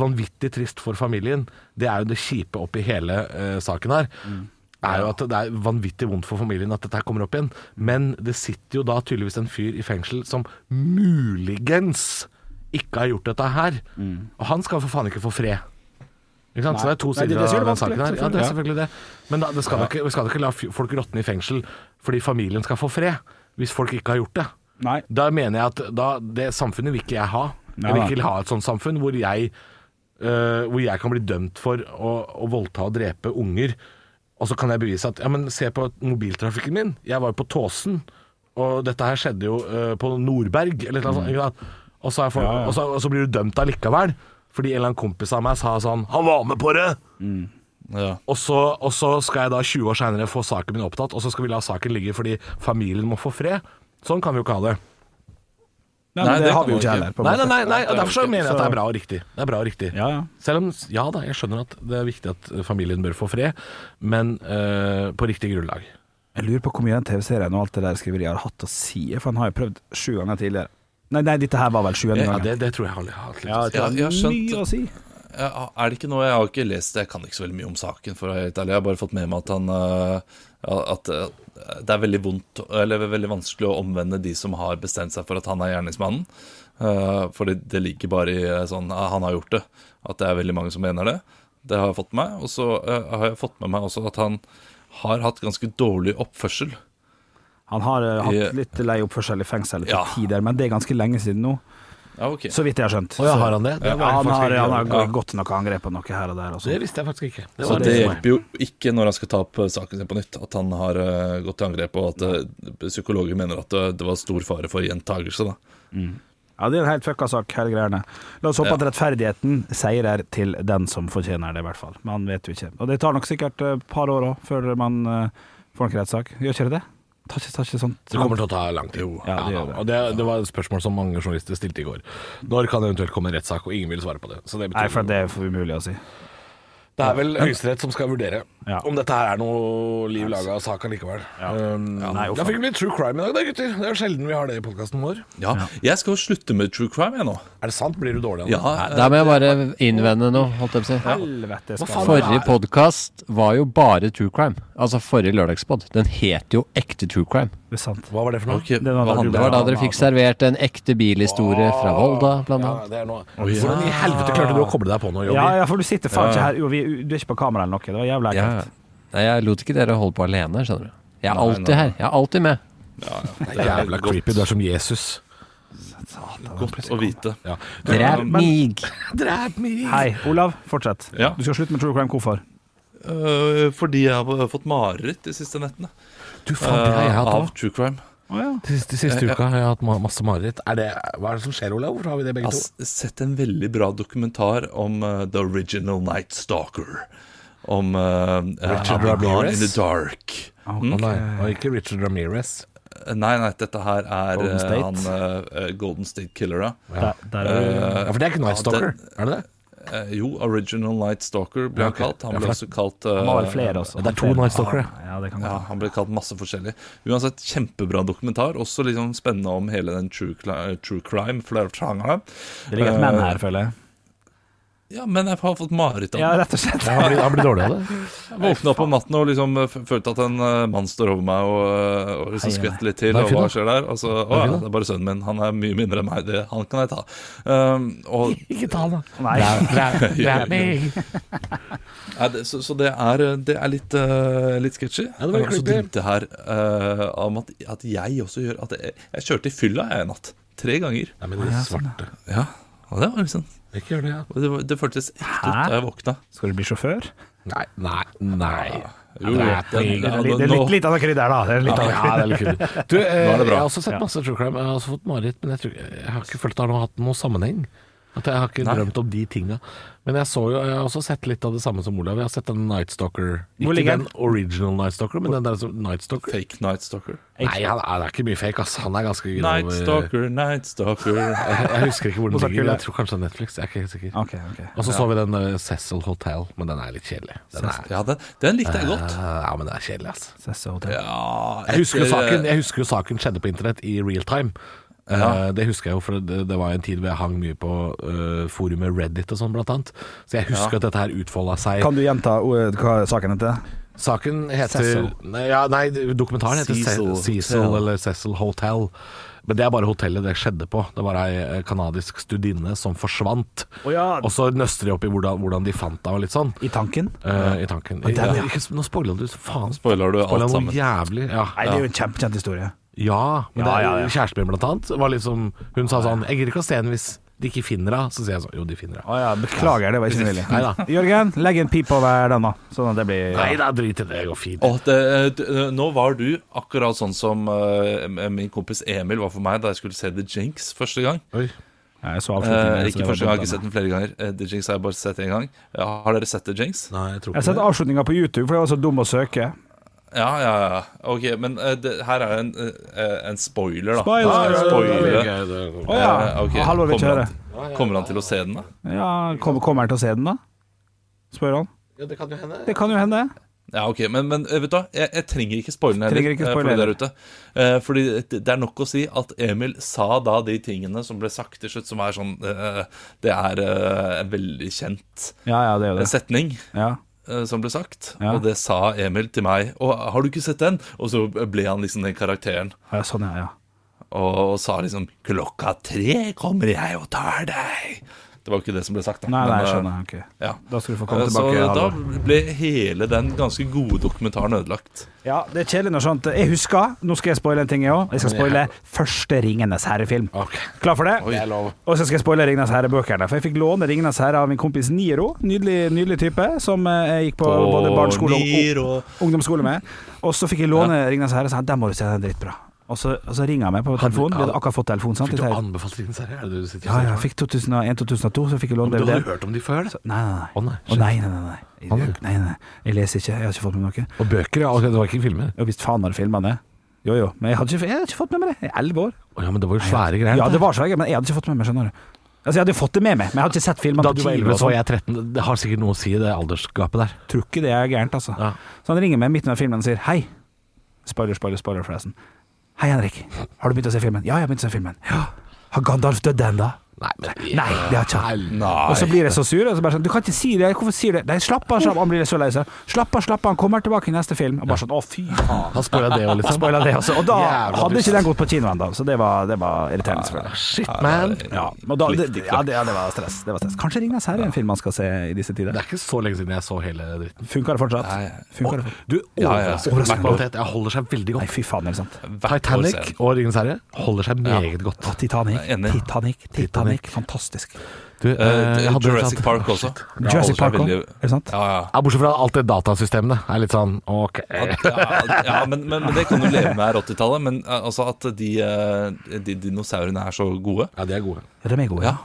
Speaker 3: vanvittig trist for familien. Det er jo det kjipe oppi hele eh, saken her.
Speaker 4: Mm.
Speaker 3: Er jo at Det er vanvittig vondt for familien at dette her kommer opp
Speaker 4: Mm.
Speaker 3: igjen. Men det sitter jo da tydeligvis en fyr i fengsel som muligens ikke har gjort dette her. Og han skal for faen ikke få fred. Ikke sant? Så det er to
Speaker 4: Mm. Nei,
Speaker 3: sider
Speaker 4: det- det er
Speaker 3: av den
Speaker 4: selvfølgelig
Speaker 3: saken her.
Speaker 4: vanskelig,
Speaker 3: Ja, det er
Speaker 4: selvfølgelig.
Speaker 3: selvfølgelig det. Men da, det skal da ikke, vi skal da ikke la f- folk råtne i fengsel fordi familien skal få fred, hvis folk ikke har gjort det.
Speaker 4: Nei.
Speaker 3: Da mener jeg at da, det samfunnet vil ikke jeg ha. Jeg vil
Speaker 4: Nei,
Speaker 3: ikke ha et sånt samfunn hvor eh, jeg, øh, hvor jeg kan bli dømt for å, å voldta og drepe unger Og så kan jeg bevise at Ja, men se på mobiltrafikken min. Jeg var jo på Tåsen, og dette her skjedde jo eh, på Nordberg, eller noe sånt. ikke sant? Og så, er folk, Og, så, og så blir du dømt allikevel. Fordi en eller annen kompis av meg sa sånn Han var med på det!
Speaker 5: Ja.
Speaker 3: Og så, og så skal jeg da 20 år seinere få saken min opptatt, og så skal vi la saken ligge fordi familien må få fred. Sånn kan vi jo ikke ha det.
Speaker 4: Nei,
Speaker 5: Nei,
Speaker 4: men det
Speaker 5: det
Speaker 4: har vi jo
Speaker 5: kan
Speaker 4: ikke
Speaker 5: man
Speaker 4: her.
Speaker 5: ikke.
Speaker 4: på en
Speaker 3: Nei,
Speaker 4: måte.
Speaker 3: nei, nei, nei, og
Speaker 5: det er
Speaker 3: derfor så
Speaker 5: jo
Speaker 3: mener jeg at
Speaker 4: så-
Speaker 3: det er bra og riktig. Det er bra og riktig.
Speaker 4: Ja, ja.
Speaker 3: Selv om, ja da, jeg skjønner at det er viktig at eh, familien bør få fred, men eh, på riktig grunnlag.
Speaker 4: Jeg lurer på hvor mye den TV-serien og alt det der skriveriet har hatt å si, for han har jo prøvd sju ganger tidligere. Nei, nei, dette her var vel sjuende
Speaker 3: Ja,
Speaker 4: gangen.
Speaker 3: det, det tror jeg har hatt litt
Speaker 4: Ja,
Speaker 3: å si.
Speaker 4: det har
Speaker 5: jeg har skjønt-
Speaker 4: mye å si.
Speaker 5: Ja, Er det ikke noe Jeg har ikke lest det, jeg kan ikke så veldig mye om saken. For å være helt ærlig, Jeg har bare fått med meg at han øh, At øh, det er veldig vondt Eller veldig vanskelig å omvende de som har bestemt seg for at han er gjerningsmannen. Uh, for det, det ligger bare i øh, sånn «Ah, Han har gjort det. At det er veldig mange som mener det. Det har jeg fått med meg. Og så øh, har jeg fått med meg også at han har hatt ganske dårlig oppførsel.
Speaker 4: Han har eh,
Speaker 5: Ja.
Speaker 4: hatt litt lei oppførsel i fengsel til
Speaker 5: Ja.
Speaker 4: tider, men det er ganske lenge siden nå,
Speaker 5: Ja, ok
Speaker 4: så vidt jeg har skjønt.
Speaker 3: Å ja,
Speaker 4: Så-
Speaker 3: har han det? Det,
Speaker 4: Ja,
Speaker 3: var jeg
Speaker 4: han
Speaker 3: faktisk
Speaker 4: har,
Speaker 3: ikke
Speaker 4: han
Speaker 3: klar
Speaker 4: har
Speaker 3: over.
Speaker 4: gått gått noe angrep på noe her og der.
Speaker 3: det
Speaker 4: Og sånn.
Speaker 3: visste jeg faktisk ikke. Det
Speaker 5: Så
Speaker 3: var
Speaker 5: det
Speaker 3: det for meg.
Speaker 5: hjelper jo ikke når han skal ta opp eh, saken sin på nytt, at han har eh, gått til angrep, og at eh, psykologer mener at eh, det var stor fare for gjentagelse. da.
Speaker 4: Ja, det er en helt fucka sak, hele greiene. La oss håpe
Speaker 5: Ja.
Speaker 4: at rettferdigheten seirer til den som fortjener det, i hvert fall. Man vet jo ikke. Og det tar nok sikkert eh, et par år òg før man eh, får en rettssak. Gjør ikke det det? Tar ikke, tar ikke sånt
Speaker 3: Det kommer til å ta lang tid.
Speaker 4: Ja, det gjør det.
Speaker 3: Og det, det var et spørsmål som mange journalister stilte i går. Når kan det eventuelt komme en rettssak, og ingen vil svare på det. Så det, betyr,
Speaker 4: Nei, for det er for umulig å si.
Speaker 3: det er vel Høyesterett som skal vurdere
Speaker 4: Ja.
Speaker 3: om dette her er noe liv laga av sak allikevel. Um,
Speaker 4: Nei, uff.
Speaker 3: da fikk vi litt true crime i dag, da, gutter. Det er jo sjelden vi har det i podkasten vår.
Speaker 5: Ja. Jeg skal jo slutte med true crime, jeg nå.
Speaker 3: Er det sant? Blir du dårlig av det?
Speaker 5: Ja, eh,
Speaker 9: Der må jeg bare innvende noe, holdt jeg på å si.
Speaker 4: Helvete
Speaker 3: Hva
Speaker 4: skal
Speaker 3: faen?
Speaker 9: Forrige podkast var jo bare true crime. Altså forrige lørdagspod. Den het jo ekte true crime.
Speaker 4: Det er sant.
Speaker 3: Hva var det for noe?
Speaker 5: ok,
Speaker 4: Det var
Speaker 5: hva
Speaker 4: da
Speaker 5: handler
Speaker 9: Det
Speaker 5: det
Speaker 9: var da dere fikk servert en ekte bilhistorie fra Volda, blant
Speaker 3: Ja,
Speaker 9: annet.
Speaker 3: det er noe. Hvordan i helvete klarte du å koble deg på noe, Jobby?
Speaker 4: Ja, ja, for du sitter faen ikke her. Jo, vi, du er ikke på kamera eller noe. Det var jævla
Speaker 9: Ja,
Speaker 4: ekkelt.
Speaker 9: ja. Nei, jeg lot ikke dere holde på alene, skjønner du. Jeg er
Speaker 5: Nei,
Speaker 9: alltid
Speaker 5: nei.
Speaker 9: her. Jeg er alltid med.
Speaker 3: Det er Jævla creepy. Du er som Jesus.
Speaker 5: Godt å vite.
Speaker 3: Ja.
Speaker 9: Drep mig.
Speaker 3: Drep meg!
Speaker 4: Hei, Olav, fortsett.
Speaker 5: Ja.
Speaker 4: Du skal slutte med true crime. Hvorfor?
Speaker 5: Eh, fordi jeg har fått mareritt de siste nettene
Speaker 3: Du, faen, det har jeg
Speaker 5: eh,
Speaker 3: hatt
Speaker 5: av
Speaker 3: òg.
Speaker 5: true crime.
Speaker 3: De siste, siste uka har jeg hatt ma- masse mareritt. Er det, hva er det som skjer, Olav? Hvorfor har vi det begge
Speaker 5: Jeg har sett en veldig bra dokumentar om eh, The Original Night Stalker. Om uh,
Speaker 3: Richard Ramirez? Ah,
Speaker 5: in the Dark.
Speaker 3: to? Å nei, og ikke Richard Ramirez.
Speaker 5: Nei, nei, dette her er
Speaker 4: Golden
Speaker 5: eh,
Speaker 4: State?
Speaker 5: han eh, eh, Golden State Killer, ja.
Speaker 4: Der, der er du.
Speaker 3: Ja, For det er ikke Night
Speaker 5: ja,
Speaker 3: Stalker,
Speaker 5: det-
Speaker 3: er det det?
Speaker 5: Eh, jo, Original Night Stalker ble
Speaker 3: Ja,
Speaker 5: han
Speaker 3: ok.
Speaker 5: kalt. Han
Speaker 3: Ja,
Speaker 5: ble
Speaker 3: for-
Speaker 5: også kalt eh,
Speaker 4: Han var vel flere også.
Speaker 3: det er to Night Stalkere.
Speaker 4: Ja, det kan
Speaker 5: Ja,
Speaker 4: godt.
Speaker 5: han ble kalt masse forskjellig. Uansett, kjempebra dokumentar. Også liksom spennende om hele den true, cli- true crime. For det er jo sjangeren.
Speaker 4: Det ligger et menn her, føler jeg.
Speaker 5: Ja, men jeg har fått mareritt av
Speaker 4: Ja,
Speaker 5: den.
Speaker 4: rett og slett.
Speaker 3: Ja, han, blir, han blir dårlig av det.
Speaker 5: Jeg Våkna opp om natten og liksom eh, f- følte at en eh, mann står over meg og, eh, og liksom
Speaker 4: Hei, hei.
Speaker 5: skvetter litt til.
Speaker 3: Nei,
Speaker 5: Og
Speaker 3: fy da.
Speaker 5: hva skjer der? Og så, å ja, det er bare sønnen min. Han er mye mindre enn meg. Det, han kan jeg ta. Um, og
Speaker 3: Ikke ta han, da.
Speaker 4: Nei.
Speaker 5: Ja, Nei, det, så, så det er, det er litt, eh, litt sketchy.
Speaker 3: Ja, det var litt
Speaker 5: Og så
Speaker 3: creepy.
Speaker 5: tenkte jeg her eh, om at, at jeg også gjør at jeg, jeg kjørte i fylla jeg en natt. Tre ganger.
Speaker 3: Nei, men det svarte.
Speaker 5: Ja, og det var liksom
Speaker 3: Ikke gjør det, ja.
Speaker 5: Det, var, det føltes ekte
Speaker 4: Hæ?
Speaker 5: ut da jeg våkna.
Speaker 4: Skal du bli sjåfør?
Speaker 3: Nei, nei, nei.
Speaker 5: Jo,
Speaker 3: Drep
Speaker 5: det-
Speaker 3: meg.
Speaker 4: Det er
Speaker 5: Ja,
Speaker 4: litt, det er
Speaker 5: nå-
Speaker 4: litt, litt av det krydder, da. Det er litt av det
Speaker 3: Ja, det er litt kult. Du, eh,
Speaker 5: er det
Speaker 3: jeg
Speaker 5: bra.
Speaker 3: har også sett masse true crime. Jeg har også fått mareritt, men jeg, tror, jeg har ikke følt at det har hatt noen sammenheng. At jeg har ikke drømt om de tinga. Men jeg, så jo, jeg har også sett litt av det samme som Olav. Jeg har sett den Night Stalker.
Speaker 4: Hvor
Speaker 3: Ikke
Speaker 4: ligger
Speaker 3: den original Night Stalker, men den der som Night Stalker.
Speaker 5: Fake Night Stalker.
Speaker 3: Nei, han er, det er ikke mye fake, ass. Han er ganske grov.
Speaker 5: Night Stalker, Night Stalker
Speaker 3: Jeg, jeg husker ikke hvor den ligger.
Speaker 4: Mozart
Speaker 3: men
Speaker 4: Kulle.
Speaker 3: Jeg tror kanskje det er Netflix. Jeg er ikke helt sikker.
Speaker 4: Ok, ok.
Speaker 3: Og så så vi den eh, Cecil Hotel, men den er litt kjedelig. Den er, Eh,
Speaker 5: Ja, den, den likte jeg godt.
Speaker 3: ja, men den er kjedelig, ass.
Speaker 4: Cecil Hotel.
Speaker 5: Ja,
Speaker 3: Jeg husker, jo
Speaker 5: etter- eh,
Speaker 3: saken, jeg husker jo saken skjedde på internett i real time. Eh, det husker jeg jo, for det, det var en tid hvor jeg hang mye på eh, forumet Reddit og sånn, blant annet. Så jeg husker at dette her utfolda seg.
Speaker 4: Kan du gjenta uh, hva saken heter?
Speaker 3: Saken heter
Speaker 4: Cecil.
Speaker 3: nei, ja, nei, dokumentaren heter
Speaker 5: Cecil
Speaker 3: Cecil, Cecil
Speaker 5: Hotel.
Speaker 3: eller Cecil Hotel. Men det er bare hotellet det skjedde på. Det var ei eh, kanadisk studinne som forsvant.
Speaker 4: Å ja.
Speaker 3: Og så nøster de opp i hvordan, hvordan de fant henne og litt sånn.
Speaker 4: I tanken?
Speaker 3: eh, I tanken.
Speaker 4: den, ja.
Speaker 3: Ja, ikke, nå spoiler du faen.
Speaker 5: Spoiler du
Speaker 3: Spoiler
Speaker 5: alt
Speaker 3: noe
Speaker 5: sammen?
Speaker 3: jævlig. Ja.
Speaker 4: Nei, det er jo en kjempekjent historie.
Speaker 3: Ja, men
Speaker 4: Ja,
Speaker 3: det,
Speaker 4: ja, ja.
Speaker 3: kjæresten min blant annet var liksom Hun sa sånn Jeg gidder ikke å se henne hvis de ikke finner henne, så sier jeg sånn Jo, de finner henne.
Speaker 4: Å ja, beklager, det var ikke vilje.
Speaker 3: Neida.
Speaker 4: Jørgen, legg en pip over den, da. Sånn at det blir
Speaker 3: Nei da, drit i det. Det går fint.
Speaker 5: Og det, det, nå var du akkurat sånn som eh, min kompis Emil var for meg da jeg skulle se The Jinx første gang.
Speaker 3: Oi.
Speaker 4: Nei, jeg så avslutningen,
Speaker 5: Eh,
Speaker 4: så det
Speaker 5: ikke
Speaker 4: var
Speaker 5: første gang, jeg
Speaker 4: dumt av
Speaker 5: har ikke sett
Speaker 4: meg.
Speaker 5: den flere ganger. Eh, The Jinx har jeg bare sett én gang. Ja, har dere sett The Jinx?
Speaker 3: Nei, jeg tror
Speaker 4: Jeg har sett
Speaker 3: ikke det.
Speaker 4: avslutninga på YouTube, for det var så dum å søke.
Speaker 5: Ja, ja, ja. Ok, men eh, det, her er en, eh, en spoiler, da.
Speaker 4: Spoiler!
Speaker 5: Ja, en spoiler.
Speaker 3: Ok, det-
Speaker 4: Å ja.
Speaker 5: Eh, ok.
Speaker 4: Halvor vil ikke
Speaker 5: Kommer
Speaker 4: høre.
Speaker 5: han- Kommer han til å se den, da?
Speaker 4: Ja, kom, kommer han til å se den, da? Spør han.
Speaker 3: Ja, det kan jo hende.
Speaker 4: Det kan jo hende.
Speaker 5: Ja, ok, Men, men eh, vet du hva, jeg, jeg trenger ikke spoile den
Speaker 4: Trenger
Speaker 5: heller.
Speaker 4: ikke
Speaker 5: eh, for
Speaker 4: spoile
Speaker 5: de der ute. Eh, Fordi det det er nok å si at Emil sa da de tingene som ble sagt til slutt, som er sånn eh, Det er eh, en veldig kjent
Speaker 4: Ja, ja, det gjør
Speaker 5: eh,
Speaker 4: det.
Speaker 5: setning.
Speaker 4: Ja.
Speaker 5: eh, som ble sagt,
Speaker 4: Ja.
Speaker 5: og det sa Emil til meg. Og har du ikke sett den? Og så ble han liksom den karakteren
Speaker 4: ja sånn, ja, ja.
Speaker 5: og, og sa liksom 'Klokka tre kommer jeg og tar deg'. Det var jo ikke det som ble sagt, da.
Speaker 4: Nei, nei,
Speaker 5: men,
Speaker 4: jeg
Speaker 5: eh,
Speaker 4: skjønner. Ok.
Speaker 5: Ja.
Speaker 4: Da skal du få komme
Speaker 5: Eh,
Speaker 4: tilbake.
Speaker 5: så
Speaker 4: Halvor.
Speaker 5: da ble hele den ganske gode dokumentaren ødelagt.
Speaker 4: Ja, det er kjedelig når sånt Jeg husker, nå skal jeg spoile en ting jeg òg. Jeg skal spoile første Ringenes herre-film.
Speaker 3: Ok.
Speaker 4: Klar for det?
Speaker 3: Oi. Det er lov.
Speaker 4: Og så skal jeg spoile Ringenes herre-bøkene. For jeg fikk låne Ringenes herre av min kompis Niro. Nydelig, nydelig type, som eh, jeg gikk på
Speaker 5: Åh,
Speaker 4: både barneskole og
Speaker 5: Niro.
Speaker 4: og ungdomsskole med. Og så fikk jeg låne Ringenes herre, og sa den må du se, den er dritbra. Og så, og så ringer jeg meg på telefonen. Vi hadde akkurat fått telefon, sant?
Speaker 3: Fikk du
Speaker 4: Jeg tenkte,
Speaker 3: anbefalt Ringenes herre? Er det det du sitter
Speaker 4: Ja, ja,
Speaker 3: og
Speaker 4: jeg fikk 2001-2002, så fikk jeg låne
Speaker 3: Du hadde
Speaker 4: DVD.
Speaker 3: hørt om de før? Så,
Speaker 4: Nei, nei, nei.
Speaker 3: Å, nei,
Speaker 4: Å, nei, nei, nei, nei.
Speaker 3: Å, nei.
Speaker 4: Jeg, nei, nei. jeg leser ikke, jeg har ikke fått med meg noe.
Speaker 3: Og bøker, ja. ok,
Speaker 4: Altså,
Speaker 3: Det var ikke filmer?
Speaker 4: Og visst faen var det filma det. Jo jo, men jeg hadde ikke, jeg hadde ikke fått med meg det. I elleve år.
Speaker 3: Å, ja, men det var jo svære greier.
Speaker 4: Ja, det var svært, men jeg hadde ikke fått med meg, skjønner du. Altså, jeg hadde fått det med meg, men jeg hadde ikke sett filmen
Speaker 3: da
Speaker 4: på
Speaker 3: du sånn. var 11,
Speaker 4: 20 år.
Speaker 3: så var
Speaker 4: Jeg
Speaker 3: jeg 13. Det har sikkert noe å si, det aldersgapet der.
Speaker 4: tror ikke det er gærent, altså.
Speaker 3: Ja.
Speaker 4: Så han ringer meg midt under filmen og sier hei. Spoiler, spoiler, spoiler, forresten. Hei, Henrik. Har du begynt å se filmen? Ja, jeg har begynt å se filmen. Ja. Har Gandalf dødd ennå?
Speaker 3: Nei, men
Speaker 4: Nei, det har ikke han.
Speaker 5: Nei.
Speaker 4: Og så blir jeg så sur. Og så bare sånn, du kan ikke si det. Hvorfor sier du det? Nei, slapp av, slapp av. Han blir så lei seg. Slapp av, slapp av. Han kommer tilbake i neste film. Og bare sånn, å fy faen.
Speaker 3: Han spoila det òg, liksom.
Speaker 4: Spoiler det også. Og da
Speaker 3: Jævla
Speaker 4: hadde
Speaker 3: dust.
Speaker 4: ikke den gått på kino ennå, så det var, det var irriterende, selvfølgelig.
Speaker 3: Shit, man.
Speaker 4: Ja, og da, det, ja, det, ja, det var stress. Det var stress. Kanskje Ringnes her er en film man skal se i disse tider.
Speaker 3: Det er ikke så lenge siden jeg så hele dritten.
Speaker 4: Funker det fortsatt?
Speaker 5: Nei.
Speaker 4: Funker det fortsatt?
Speaker 3: Du,
Speaker 5: Ja, ja.
Speaker 3: overraskende kvalitet. Jeg holder seg veldig
Speaker 4: Nei,
Speaker 3: godt.
Speaker 4: fy faen, er det sant?
Speaker 5: Hvert år
Speaker 4: Eh,
Speaker 5: ser
Speaker 3: Titanic
Speaker 5: jeg den.
Speaker 3: og Ringens herre holder seg meget godt.
Speaker 4: Å, Titanic,
Speaker 5: Jeg er enig.
Speaker 4: Titanic, Titanic. Fantastisk.
Speaker 3: Du, eh,
Speaker 5: Eh,
Speaker 3: jeg hadde
Speaker 5: Jurassic
Speaker 3: sant-
Speaker 5: Park også. Ja,
Speaker 4: Jurassic
Speaker 5: holder seg
Speaker 4: Park også,
Speaker 5: veldig-
Speaker 4: er det sant?
Speaker 5: Ja, ja.
Speaker 3: Ja, bortsett fra alt det datasystemet det er litt sånn ok.
Speaker 5: ja, ja men, men, men det kan du leve med er 80-tallet. Men eh, altså at de, eh, de dinosaurene er så gode.
Speaker 3: Ja, de er gode.
Speaker 4: De er gode.
Speaker 5: Ja,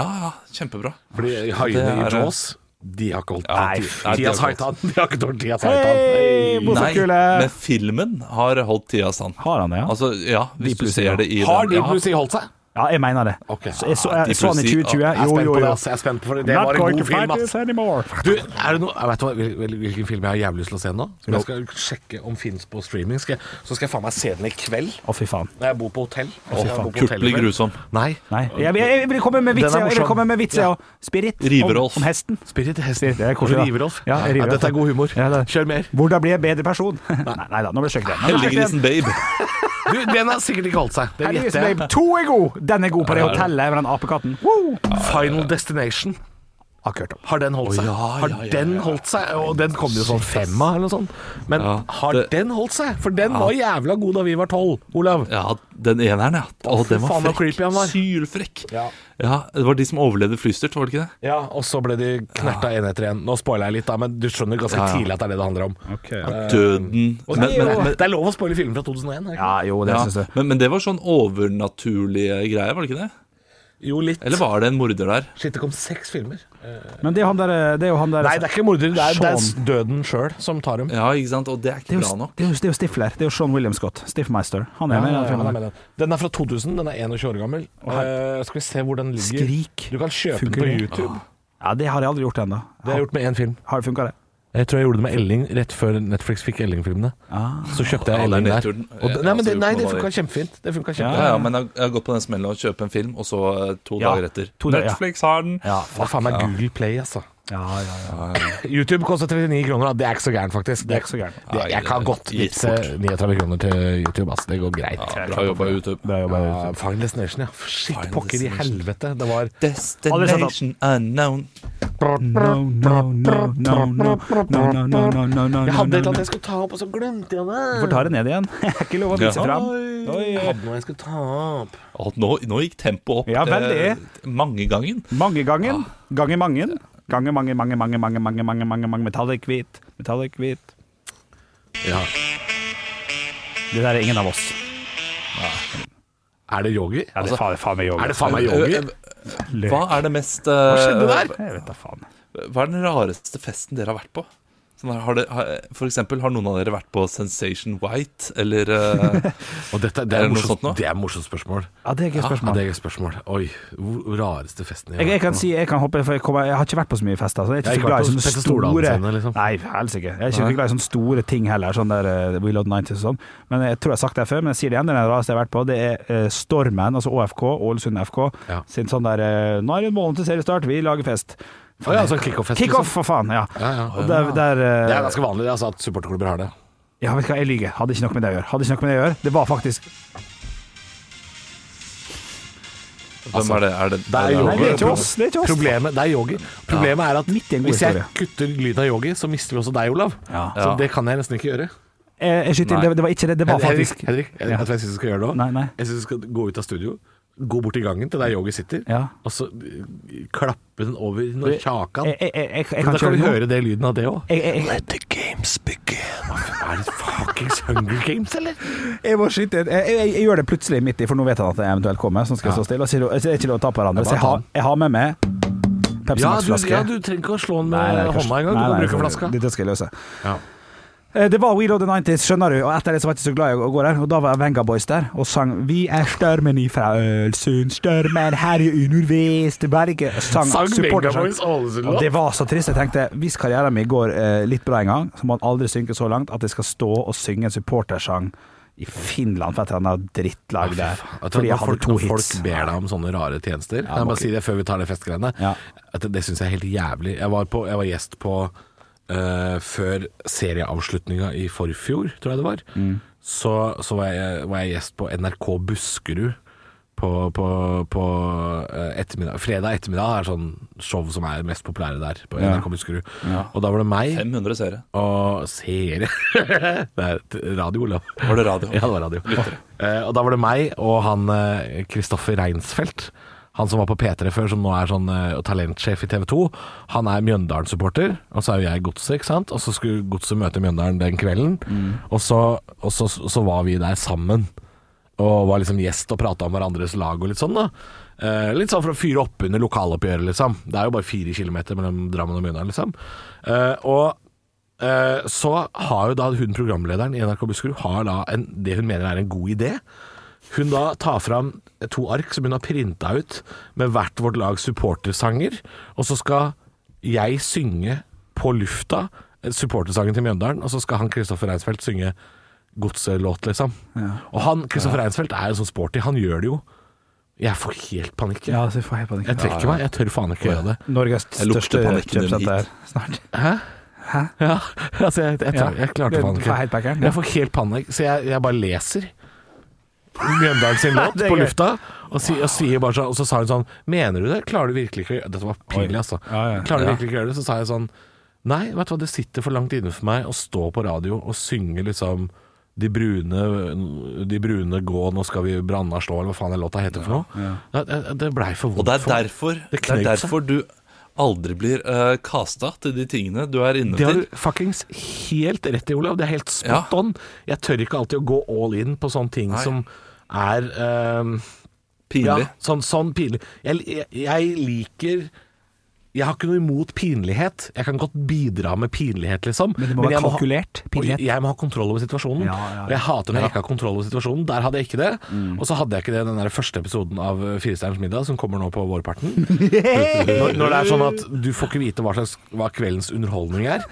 Speaker 5: ja, ja kjempebra.
Speaker 3: Fordi haiene
Speaker 5: Det
Speaker 3: i
Speaker 5: er-
Speaker 3: Jaws, de har ikke holdt
Speaker 5: Nei,
Speaker 3: Ti-
Speaker 5: nei, de
Speaker 3: Tias
Speaker 5: har ikke
Speaker 3: haitan. De har ikke tålt Tias
Speaker 4: Hei,
Speaker 3: haitan.
Speaker 4: hvorfor
Speaker 5: Nei,
Speaker 4: kule?
Speaker 5: men filmen har holdt tida stand.
Speaker 4: Har han det, ja?
Speaker 5: Altså, ja,
Speaker 4: De
Speaker 5: hvis du
Speaker 4: pluss-
Speaker 5: ser det i
Speaker 3: Har de
Speaker 5: den, ja.
Speaker 3: plutselig holdt seg?
Speaker 4: Ja, jeg mener det.
Speaker 3: Ok.
Speaker 4: Så jeg så,
Speaker 5: de
Speaker 4: jeg så han i
Speaker 5: plutselig-
Speaker 3: Jeg
Speaker 4: 2020.
Speaker 3: er
Speaker 4: Jo,
Speaker 3: spent
Speaker 4: jo,
Speaker 3: på det,
Speaker 4: jo.
Speaker 3: ass. Jeg er spent på det. Det
Speaker 4: Not
Speaker 3: var en
Speaker 4: going to
Speaker 3: god
Speaker 4: fight
Speaker 3: film, ass.
Speaker 4: this anymore.
Speaker 3: Du, er det noe, jeg vet du hva, hvil- hvil- hvilken film jeg har jævlig lyst til å se nå? Som jeg skal sjekke om finnes på streaming. Skal jeg, så skal jeg faen meg se den i kveld,
Speaker 4: Å, fy faen.
Speaker 3: når jeg bor på hotell. Og
Speaker 4: faen.
Speaker 5: Kurt blir grusom.
Speaker 3: Nei.
Speaker 4: Nei. Jeg, jeg, jeg vil komme
Speaker 3: Den er
Speaker 4: med vits, jeg. Jeg vil
Speaker 3: morsom.
Speaker 4: komme med vits, jeg òg. Spirit.
Speaker 5: Riverolf.
Speaker 4: Om, om hesten.
Speaker 3: Spirit Hesten.
Speaker 4: Spirit, det er koselig, da.
Speaker 3: Riverolf.
Speaker 4: Ja,
Speaker 3: Ja,
Speaker 4: Riverolf.
Speaker 3: dette er god humor.
Speaker 4: Ja, det-
Speaker 3: Kjør mer.
Speaker 4: Hvordan bli en bedre person? Nei, nei da, nå ble det søkt igjen. Nå ble det søkt igjen.
Speaker 5: Heldiggrisen Babe.
Speaker 3: Du, den har sikkert ikke holdt seg. Det
Speaker 4: Heldigvis,
Speaker 3: gjetter jeg.
Speaker 4: babe. To er liksom god! Den er god på det hotellet med den apekatten. Woo!
Speaker 3: Final Destination.
Speaker 4: Akkurat opp.
Speaker 3: Har den holdt seg?
Speaker 5: Å, ja,
Speaker 3: Har
Speaker 5: ja, ja,
Speaker 3: den
Speaker 5: ja.
Speaker 3: holdt seg? Og den kom jo sånn femma eller noe sånt. Men
Speaker 5: Ja,
Speaker 3: har
Speaker 5: det-
Speaker 3: den holdt seg? For den var jævla god da vi var tolv, Olav.
Speaker 5: Ja, den eneren, ja. Å,
Speaker 3: fy
Speaker 5: den var
Speaker 3: faen, hvor
Speaker 5: frekk.
Speaker 3: creepy han var.
Speaker 5: Sylfrekk. Ja. det var de som overlevde flystyrt, var det ikke det?
Speaker 3: Ja, og så ble de knerta én etter én. Nå spoiler jeg litt, da, men du skjønner ganske
Speaker 5: Ja, ja.
Speaker 3: tidlig at det er det det handler om.
Speaker 5: Døden.
Speaker 3: Og det,
Speaker 5: Men, men, men,
Speaker 3: det er lov å spoile filmer fra 2001. er det ikke?
Speaker 4: Ja, jo, det
Speaker 5: ja.
Speaker 4: syns jeg.
Speaker 5: men, men det var sånn overnaturlige greier, var det ikke det?
Speaker 3: Jo, litt.
Speaker 5: Eller var det en morder der?
Speaker 3: Shit, det kom seks filmer.
Speaker 4: Men det er jo han der, det er jo han der
Speaker 3: Nei, det er ikke mordere. Det er, det
Speaker 4: Sean.
Speaker 3: er døden sjøl som tar dem.
Speaker 5: Ja, ikke sant? Og det er
Speaker 4: det
Speaker 5: ikke
Speaker 4: er,
Speaker 5: bra
Speaker 4: jo,
Speaker 5: nok.
Speaker 4: det, er jo, det er jo Stifler. Det er jo Sean William Scott. Stiffmeister. Han
Speaker 3: Ja,
Speaker 4: er med i
Speaker 3: ja,
Speaker 4: den
Speaker 3: ja,
Speaker 4: filmen.
Speaker 3: den, er den er fra 2000. Den er 21 år gammel. Eh, skal vi se hvor den ligger.
Speaker 4: Skrik.
Speaker 3: Du kan kjøpe
Speaker 4: Funker
Speaker 3: den på
Speaker 4: det? Ah.
Speaker 3: YouTube.
Speaker 4: Ja, det har jeg aldri gjort ennå.
Speaker 3: Det har jeg gjort med én film.
Speaker 4: Har det funka, det?
Speaker 3: Jeg tror jeg gjorde det med Elling rett før Netflix fikk Elling-filmene.
Speaker 4: Ah.
Speaker 3: Så kjøpte jeg
Speaker 5: Ja, det er
Speaker 3: Elling der.
Speaker 5: nedturen.
Speaker 3: Og det, nei, men det,
Speaker 5: Jeg har også
Speaker 3: nei, det
Speaker 5: gjort noe av
Speaker 3: funka
Speaker 5: det.
Speaker 3: kjempefint. Det funket
Speaker 5: Ja,
Speaker 3: kjempefint.
Speaker 5: ja, men jeg jeg har gått på den smellen å kjøpe en film, og så eh, to
Speaker 4: Ja,
Speaker 5: dager etter
Speaker 4: to dager, ja.
Speaker 5: Netflix har den!
Speaker 3: Det er faen meg Google Play, altså.
Speaker 4: Ja, ja, ja.
Speaker 3: YouTube koster 39 kroner, og det er ikke så gærent, faktisk. Det
Speaker 4: er ikke så gærent.
Speaker 3: Det, jeg kan godt vitse 39 kroner til YouTube, ass. Det går greit.
Speaker 5: Ja, bra jobba, YouTube.
Speaker 4: Bra jobba.
Speaker 3: Ja, Final Destination, ja. Shit, pokker i helvete. Det var
Speaker 8: Destination unknown.
Speaker 4: No, no, no, no, no, no, no, no, no, no, no, no,
Speaker 3: Jeg hadde et eller
Speaker 4: no.
Speaker 3: annet jeg skulle ta opp, og så glemte jeg det.
Speaker 4: Får ta det ned igjen. Det er ikke lov å vise fram. Oi,
Speaker 3: Jeg
Speaker 4: oi.
Speaker 3: hadde noe jeg skulle ta opp.
Speaker 5: Å, Nå, nå gikk tempoet opp
Speaker 4: Ja, veldig.
Speaker 5: eh, mange gangen.
Speaker 4: Mangegangen. Gange mangen. Gange mange, mange, mange, mange, mange, mange, mange, mange. Metallic hvit. Metallic hvit.
Speaker 3: Ja.
Speaker 4: Det der er ingen av oss.
Speaker 3: Er det yogi?
Speaker 4: Ja, det er faen, faen meg
Speaker 3: Altså,
Speaker 4: yoga.
Speaker 3: Er det faen meg yogi?
Speaker 4: Løk.
Speaker 5: Eh, Hva er det mest
Speaker 3: Hva skjedde der?
Speaker 4: Jeg vet da faen.
Speaker 5: Hva er den rareste festen dere har vært på? Sånn, der, har det, har, for eksempel, har noen av dere vært på Sensation White, eller eh,
Speaker 3: Og dette, det, er
Speaker 5: Er det noe
Speaker 3: morsomt,
Speaker 5: sånt nå?
Speaker 3: det er morsomt spørsmål.
Speaker 4: Ja, det er ikke et
Speaker 3: Ja,
Speaker 4: spørsmål.
Speaker 3: det er et spørsmål. Oi, hvor rareste festen
Speaker 4: Jeg, jeg
Speaker 3: vært
Speaker 4: kan
Speaker 3: på.
Speaker 4: si, jeg kan hoppe, for jeg, kommer, jeg har ikke vært på så mye fester. Så jeg er
Speaker 3: Jeg
Speaker 4: ikke, så
Speaker 3: har ikke
Speaker 4: glad i
Speaker 3: vært på
Speaker 4: sånne
Speaker 3: Petter Stordalen
Speaker 4: store
Speaker 3: sine, liksom.
Speaker 4: Nei, helsike. Jeg er ikke så glad i sånne store ting heller, sånn der eh, We Love 90s og sånn. Men jeg tror jeg har sagt det før, men jeg sier det igjen. Det er den rareste jeg har vært på. Det er eh, Stormen, altså ÅFK, Ålesund FK,
Speaker 3: Ja.
Speaker 4: sin sånn der eh, Nå er det en måned til seriestart, vi lager fest.
Speaker 3: Å ja, sånn kickoff-fest.
Speaker 4: Kickoff, for faen! Ja.
Speaker 3: liksom. Ja, ja.
Speaker 4: Og der, der, eh,
Speaker 3: Det er ganske vanlig altså, at supporterklubber har det.
Speaker 4: Ja, vet du hva, jeg lyver. Hadde ikke noe med det å gjøre. Hadde ikke noe med det å gjøre. Det var faktisk
Speaker 5: Hvem er det? Er det,
Speaker 3: Altså, Det er
Speaker 5: er
Speaker 3: yogi.
Speaker 4: Nei, det er ikke oss. Det er ikke oss.
Speaker 3: Problemet, det er yogi. Problemet er at
Speaker 4: Midt i en god
Speaker 3: hvis jeg
Speaker 4: historie.
Speaker 3: kutter lyden av yogi, så mister vi også deg, Olav.
Speaker 4: Ja.
Speaker 3: Så
Speaker 5: Ja.
Speaker 3: det kan jeg nesten ikke gjøre.
Speaker 4: Eh, Jeg, jeg skyter inn.
Speaker 5: Nei.
Speaker 4: Det, det var ikke det. Det var faktisk
Speaker 3: Henrik, Henrik jeg,
Speaker 4: Ja.
Speaker 3: vet du hva jeg syns du skal gjøre nå?
Speaker 4: Nei, nei.
Speaker 3: Jeg syns du skal gå ut av studio, gå bort i gangen til der yogi sitter,
Speaker 4: Ja.
Speaker 3: og så eh, klappe den over når kjakan
Speaker 4: Jeg, jeg, jeg, jeg, jeg
Speaker 3: Men
Speaker 4: kan
Speaker 3: Da
Speaker 4: ikke
Speaker 3: kan vi
Speaker 4: gjøre noe.
Speaker 3: høre det lyden av det òg.
Speaker 4: Jeg, jeg, jeg,
Speaker 3: the games begin. Er det fuckings Hunger Games, eller?
Speaker 4: jeg må skyte inn. Jeg, jeg, jeg gjør det plutselig midt i, for nå vet han at jeg eventuelt kommer. Sånn skal jeg stå stille. Og så er det- så er det ikke lov å ta på hverandre.
Speaker 3: Ja,
Speaker 4: Så jeg har, jeg har med meg Pepsi
Speaker 3: Ja du,
Speaker 4: Max-flaske.
Speaker 3: ja, du trenger ikke å slå den med
Speaker 4: Nei, nei, kanskje-
Speaker 3: hånda engang. Du
Speaker 4: nei,
Speaker 3: kan
Speaker 4: nei,
Speaker 3: bruke flaska.
Speaker 4: Dette skal jeg løse.
Speaker 3: Ja.
Speaker 4: Eh, Det var We Love the 90s, skjønner du, og etter det så var jeg ikke så glad i å gå der. Og da var Venga Boys der og sang 'Vi er stormen ifra Ølsund, stormen herjer underveis'. Det var ikke sang
Speaker 3: Sang
Speaker 4: supporter-
Speaker 3: Venga Boys Ålesund-låt?
Speaker 4: Og det var så trist. Jeg tenkte hvis karrieren min går eh, litt bra en gang, så må han aldri synke så langt at jeg skal stå og synge en supportersang i Finland for et eller annet drittlag der.
Speaker 3: At
Speaker 4: Fordi jeg
Speaker 3: når
Speaker 4: hadde
Speaker 3: folk,
Speaker 4: to
Speaker 3: når folk
Speaker 4: hits.
Speaker 3: ber deg om sånne rare tjenester Kan jeg
Speaker 4: må
Speaker 3: bare si det før vi tar det festgreiene?
Speaker 4: Ja.
Speaker 3: At det det syns jeg er helt jævlig. Jeg var, på, jeg var gjest på eh, Før serieavslutninga i forfjor, tror jeg det var,
Speaker 4: Mm.
Speaker 3: så, så var, jeg, var jeg gjest på NRK Buskerud. På, på, på eh, ettermiddag Fredag ettermiddag er sånn show som er mest populære der, på
Speaker 4: Ja.
Speaker 3: NRK Buskerud. Og da var det meg
Speaker 5: 500 seere.
Speaker 3: og seere Det er et radio, Olav.
Speaker 5: Var det radio?
Speaker 3: Ja, det var radio. Eh, og da var det meg og han eh, Kristoffer Reinsfeldt. Han som var på P3 før, som nå er sånn eh, talentsjef i TV 2. Han er Mjøndalen-supporter, og så er jo jeg godset, ikke sant. Og så skulle godset møte Mjøndalen den kvelden,
Speaker 5: Mm.
Speaker 3: og, så, og så, så var vi der sammen. Og var liksom gjest og prata om hverandres lag og litt sånn, da. Eh, litt sånn for å fyre opp under lokaloppgjøret, liksom. Det er jo bare fire kilometer mellom Drammen og Mjøndalen, liksom. Eh, og Eh, så har jo da hun programlederen i NRK Buskerud har da en, det hun mener er en god idé. Hun da tar fram to ark som hun har printa ut med hvert vårt lags supportersanger, og så skal jeg synge på lufta eh, supportersangen til Mjøndalen, og så skal han Kristoffer Reinsfeldt synge godselåt, liksom. Og han, Kristoffer Reinsfeldt er jo sånn sporty, han gjør det jo. Jeg får helt panikk. jeg.
Speaker 4: Ja, så jeg får helt panikk.
Speaker 3: Jeg trekker meg, jeg tør faen ikke gjøre det.
Speaker 4: Norges
Speaker 5: Jeg lukter
Speaker 4: største
Speaker 5: panikken din
Speaker 4: kjøpesenter
Speaker 5: hit.
Speaker 4: snart.
Speaker 3: Ja, altså jeg, jeg, jeg,
Speaker 4: Ja.
Speaker 3: jeg klarte
Speaker 4: Du-
Speaker 3: faen
Speaker 4: du
Speaker 3: ikke.
Speaker 4: får helt pakkeren, ja.
Speaker 3: Jeg får helt panikk, så jeg, jeg bare leser Mjøndalen sin låt
Speaker 4: Det er
Speaker 3: på
Speaker 4: gøy.
Speaker 3: lufta, og, si, og, sier bare sånn, og så sa hun sånn Mener du det? Klarer du virkelig ikke å gjøre Dette var pinlig, altså.
Speaker 4: Ja, ja.
Speaker 3: Klarer du virkelig ikke å gjøre det? Så sa jeg sånn Nei, vet du hva, det sitter for langt inne for meg å stå på radio og synge liksom de brune, de brune gå, nå skal vi branna slå, eller hva faen den låta heter for noe. Det, det blei for vondt.
Speaker 5: Og det er
Speaker 3: for meg.
Speaker 5: derfor,
Speaker 3: Det
Speaker 5: det
Speaker 3: knøt
Speaker 5: er
Speaker 3: seg.
Speaker 5: derfor du aldri blir eh, casta til de tingene du er inne
Speaker 3: Det har
Speaker 5: til.
Speaker 3: du fuckings helt rett i, Olav. Det er helt spot
Speaker 5: Ja.
Speaker 3: on. Jeg tør ikke alltid å gå all in på sånne ting
Speaker 5: Nei.
Speaker 3: som er ehm, ja,
Speaker 5: Pinlig.
Speaker 3: sånn, sånn pinlig. Jeg, jeg, jeg liker Jeg har ikke noe imot pinlighet. Jeg kan godt bidra med pinlighet, liksom.
Speaker 4: Men det må være
Speaker 3: jeg ha-
Speaker 4: kalkulert pinlighet.
Speaker 3: Og Jeg må ha kontroll over situasjonen.
Speaker 4: Ja, ja, Mm. ja.
Speaker 3: Og jeg hater når jeg ikke har kontroll over situasjonen. Der hadde jeg ikke det. Og så hadde jeg ikke det i den der første episoden av eh, Firestjerners middag, som kommer nå på vårparten. når, når det er sånn at du får ikke vite hva, slags, hva kveldens underholdning er.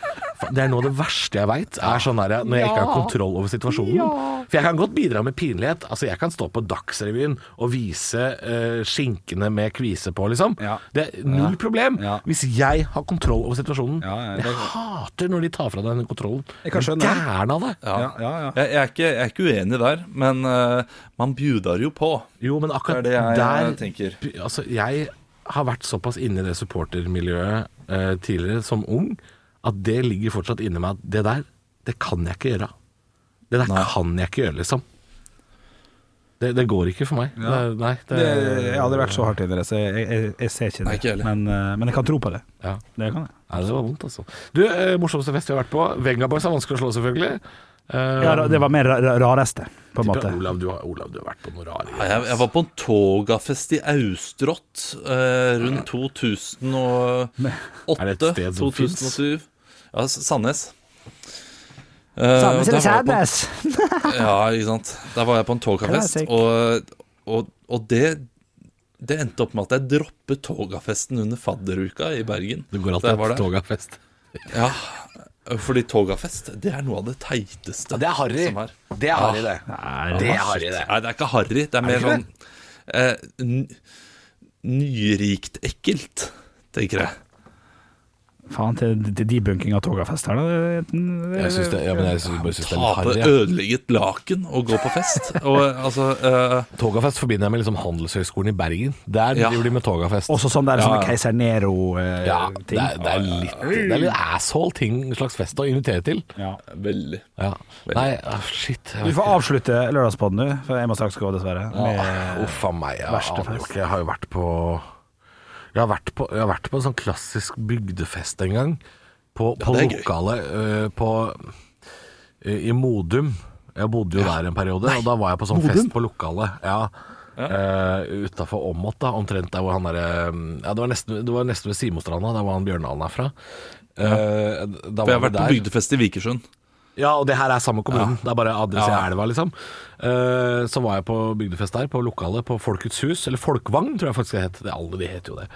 Speaker 3: Det er noe av det verste jeg veit, er sånn der, når jeg ikke har kontroll over situasjonen. For jeg kan godt bidra med pinlighet. Altså, jeg kan stå på Dagsrevyen og vise eh, skinkene med kvise på, liksom.
Speaker 4: Ja.
Speaker 3: Det er null problem
Speaker 4: Ja.
Speaker 3: hvis jeg har kontroll over situasjonen.
Speaker 4: Ja, ja, det-
Speaker 3: Jeg hater når de tar fra deg den kontrollen.
Speaker 4: Jeg kan skjønne
Speaker 3: Jeg
Speaker 4: det.
Speaker 3: er gæren av det.
Speaker 5: Ja.
Speaker 4: Ja, ja, ja.
Speaker 5: Jeg, jeg, er ikke, jeg er ikke uenig der, men eh, man bjudar jo på.
Speaker 3: Jo, men akkurat
Speaker 5: Det er det jeg
Speaker 3: der
Speaker 5: tenker.
Speaker 3: Altså, jeg har vært såpass inne i det supportermiljøet eh, tidligere som ung at det ligger fortsatt inni meg at det der, det kan jeg ikke gjøre. Det der kan jeg ikke gjøre, liksom. Det, det går ikke for meg. Det, nei, det,
Speaker 4: Det, jeg hadde vært så hardt inni det, så jeg, jeg, jeg ser ikke det.
Speaker 5: Nei, ikke heller.
Speaker 4: men, eh, men jeg kan tro på det.
Speaker 3: ja.
Speaker 4: Det kan jeg.
Speaker 3: Nei, det var vondt, altså. Du, eh, morsomste fest vi har vært på. Vengaboys er vanskelig å slå, selvfølgelig. Eh,
Speaker 4: Ja, det var mer ra- ra- rareste, på en måte.
Speaker 3: Olav, du har, Olav, du har vært på noe rar
Speaker 5: Ja, Jeg, jeg var på en togafest i Austrått eh, rundt 2008.
Speaker 3: Er det et sted som
Speaker 5: 2007. Ja, S- Sandnes. Eh,
Speaker 4: Sandnes eller
Speaker 5: og der var jeg på en-
Speaker 4: Sadness?
Speaker 5: Ja, ikke sant. Der var jeg på en togafest,
Speaker 4: Classic.
Speaker 5: og, og, og det det endte opp med at jeg droppet togafesten under fadderuka i Bergen.
Speaker 3: Det går
Speaker 5: Der
Speaker 3: alltid
Speaker 5: var
Speaker 3: et
Speaker 5: det.
Speaker 3: togafest.
Speaker 5: Ja, fordi togafest, det er noe av det teiteste
Speaker 3: Det er harry.
Speaker 5: som er.
Speaker 3: Det er harry, det. Det er harry, det.
Speaker 5: Nei, det er ikke harry. Det er mer sånn eh, n- nyrikt ekkelt, tenker jeg.
Speaker 4: Faen, til til debunking av Togafest her, da. det- det-
Speaker 3: Jeg syns det, ja, men jeg synes, bare syns det er litt
Speaker 5: Tape
Speaker 3: harry. jeg.
Speaker 5: ødelegget laken og gå på fest. Og eh, altså eh,
Speaker 3: Togafest forbinder jeg med liksom Handelshøyskolen i Bergen. Der
Speaker 5: Ja.
Speaker 3: driver de med togafest.
Speaker 4: Også sånn der sånne
Speaker 5: Ja.
Speaker 4: Keiser eh, Nero-ting.
Speaker 3: ja, det, er, det, er litt, det er litt asshole ting, slags fest å invitere til.
Speaker 5: Veldig.
Speaker 3: Ja. Nei, ah, shit. jeg
Speaker 4: Du
Speaker 3: vet
Speaker 4: får
Speaker 3: ikke.
Speaker 4: avslutte lørdagspodden, du. For jeg må straks gå, dessverre.
Speaker 3: Ah,
Speaker 4: Med,
Speaker 3: Uff a meg. Jeg,
Speaker 4: Eh, Verste
Speaker 3: aner jo
Speaker 4: fest.
Speaker 3: ikke. jeg har jo vært på Jeg har vært på, jeg har vært på en sånn klassisk bygdefest en gang. På, på
Speaker 5: det er gøy.
Speaker 3: lokalet øh, på øh, I Modum. Jeg bodde jo der en periode, og da var jeg på sånn fest på lokalet. Ja. Uh, Utafor Åmot, da, omtrent der hvor han derre Ja, det var nesten, det var nesten ved Simostranda, der hvor han Bjørndalen er fra. Eh, da
Speaker 5: For jeg har
Speaker 3: var vi
Speaker 5: vært på
Speaker 3: der.
Speaker 5: bygdefest i Vikersund.
Speaker 3: Ja, og det her er samme kommunen. Det er bare adresse i
Speaker 5: Ja.
Speaker 3: elva, liksom. Eh, så var jeg på bygdefest der, på lokalet på Folkets hus, eller Folkvang, tror jeg faktisk det het. Det, alle de het jo det.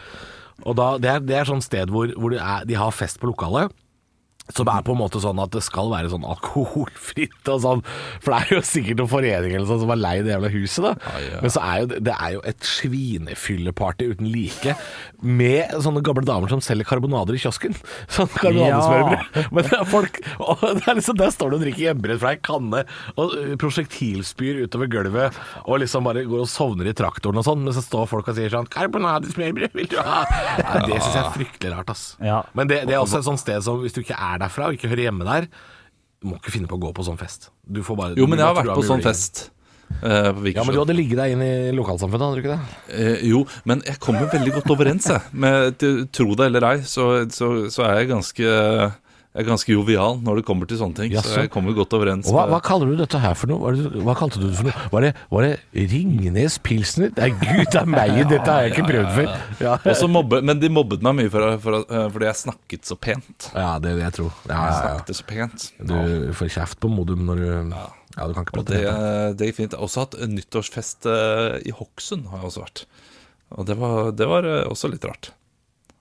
Speaker 3: Og da, det, er, det er sånn sted hvor, hvor det er, de har fest på lokalet. Som er på en måte sånn at det skal være sånn alkoholfritt og sånn. For det er jo sikkert noen forening eller sånn som har leid det jævla huset, da.
Speaker 5: Ah,
Speaker 3: Men så er jo det, det er jo et svinefylleparty uten like. Med sånne gamle damer som selger karbonader i kiosken. Sånn karbonadesmørbrød. Men det er folk og det er liksom, Der står du og drikker hjemmebrent fra ei kanne, og øh, prosjektilspyr utover gulvet, og liksom bare går og sovner i traktoren og sånn. Men så står folk og sier sånn 'Karbonadesmørbrød, vil du ha?' Nei, det syns jeg er fryktelig rart, ass.
Speaker 4: Ja.
Speaker 3: Men det, det er også et sånt sted som hvis du ikke er derfra og ikke hører hjemme der, du må ikke finne på å gå på sånn fest. Du får bare
Speaker 5: Jo, men jeg har
Speaker 3: du blir
Speaker 5: vært på
Speaker 3: trua
Speaker 5: sånn
Speaker 3: med
Speaker 5: fest. eh, på
Speaker 3: Ja, men du
Speaker 5: Vikersund.
Speaker 3: hadde ligget deg inn i lokalsamfunnet, hadde du ikke det?
Speaker 5: Eh, jo, men jeg kommer veldig godt overens, jeg. Med, til- tro det eller ei, så, så, så er jeg ganske jeg er ganske jovial når det kommer til sånne ting.
Speaker 3: Jaså.
Speaker 5: Så jeg kommer godt overens.
Speaker 3: Og hva,
Speaker 5: med-
Speaker 3: hva kaller du dette her for noe? Hva, er det du- hva kalte du det for noe? Var det, var det Ringnes Pilsner? Nei, gud, det er meg, dette har jeg ikke prøvd før. Ja,
Speaker 5: Og så Mobbe, men de mobbet meg mye for, for, eh, fordi jeg snakket så pent.
Speaker 3: ja det vil jeg tro. Ja,
Speaker 5: Jeg
Speaker 3: ja, ja.
Speaker 5: snakket så pent.
Speaker 3: Du får kjeft på Modum når du Ja, du kan ikke
Speaker 5: Og
Speaker 3: prate
Speaker 5: det, eh,
Speaker 3: pent.
Speaker 5: det gikk fint. Jeg har også hatt en nyttårsfest eh, i Hokksund, har jeg også vært. Og det var, det var eh, også litt rart.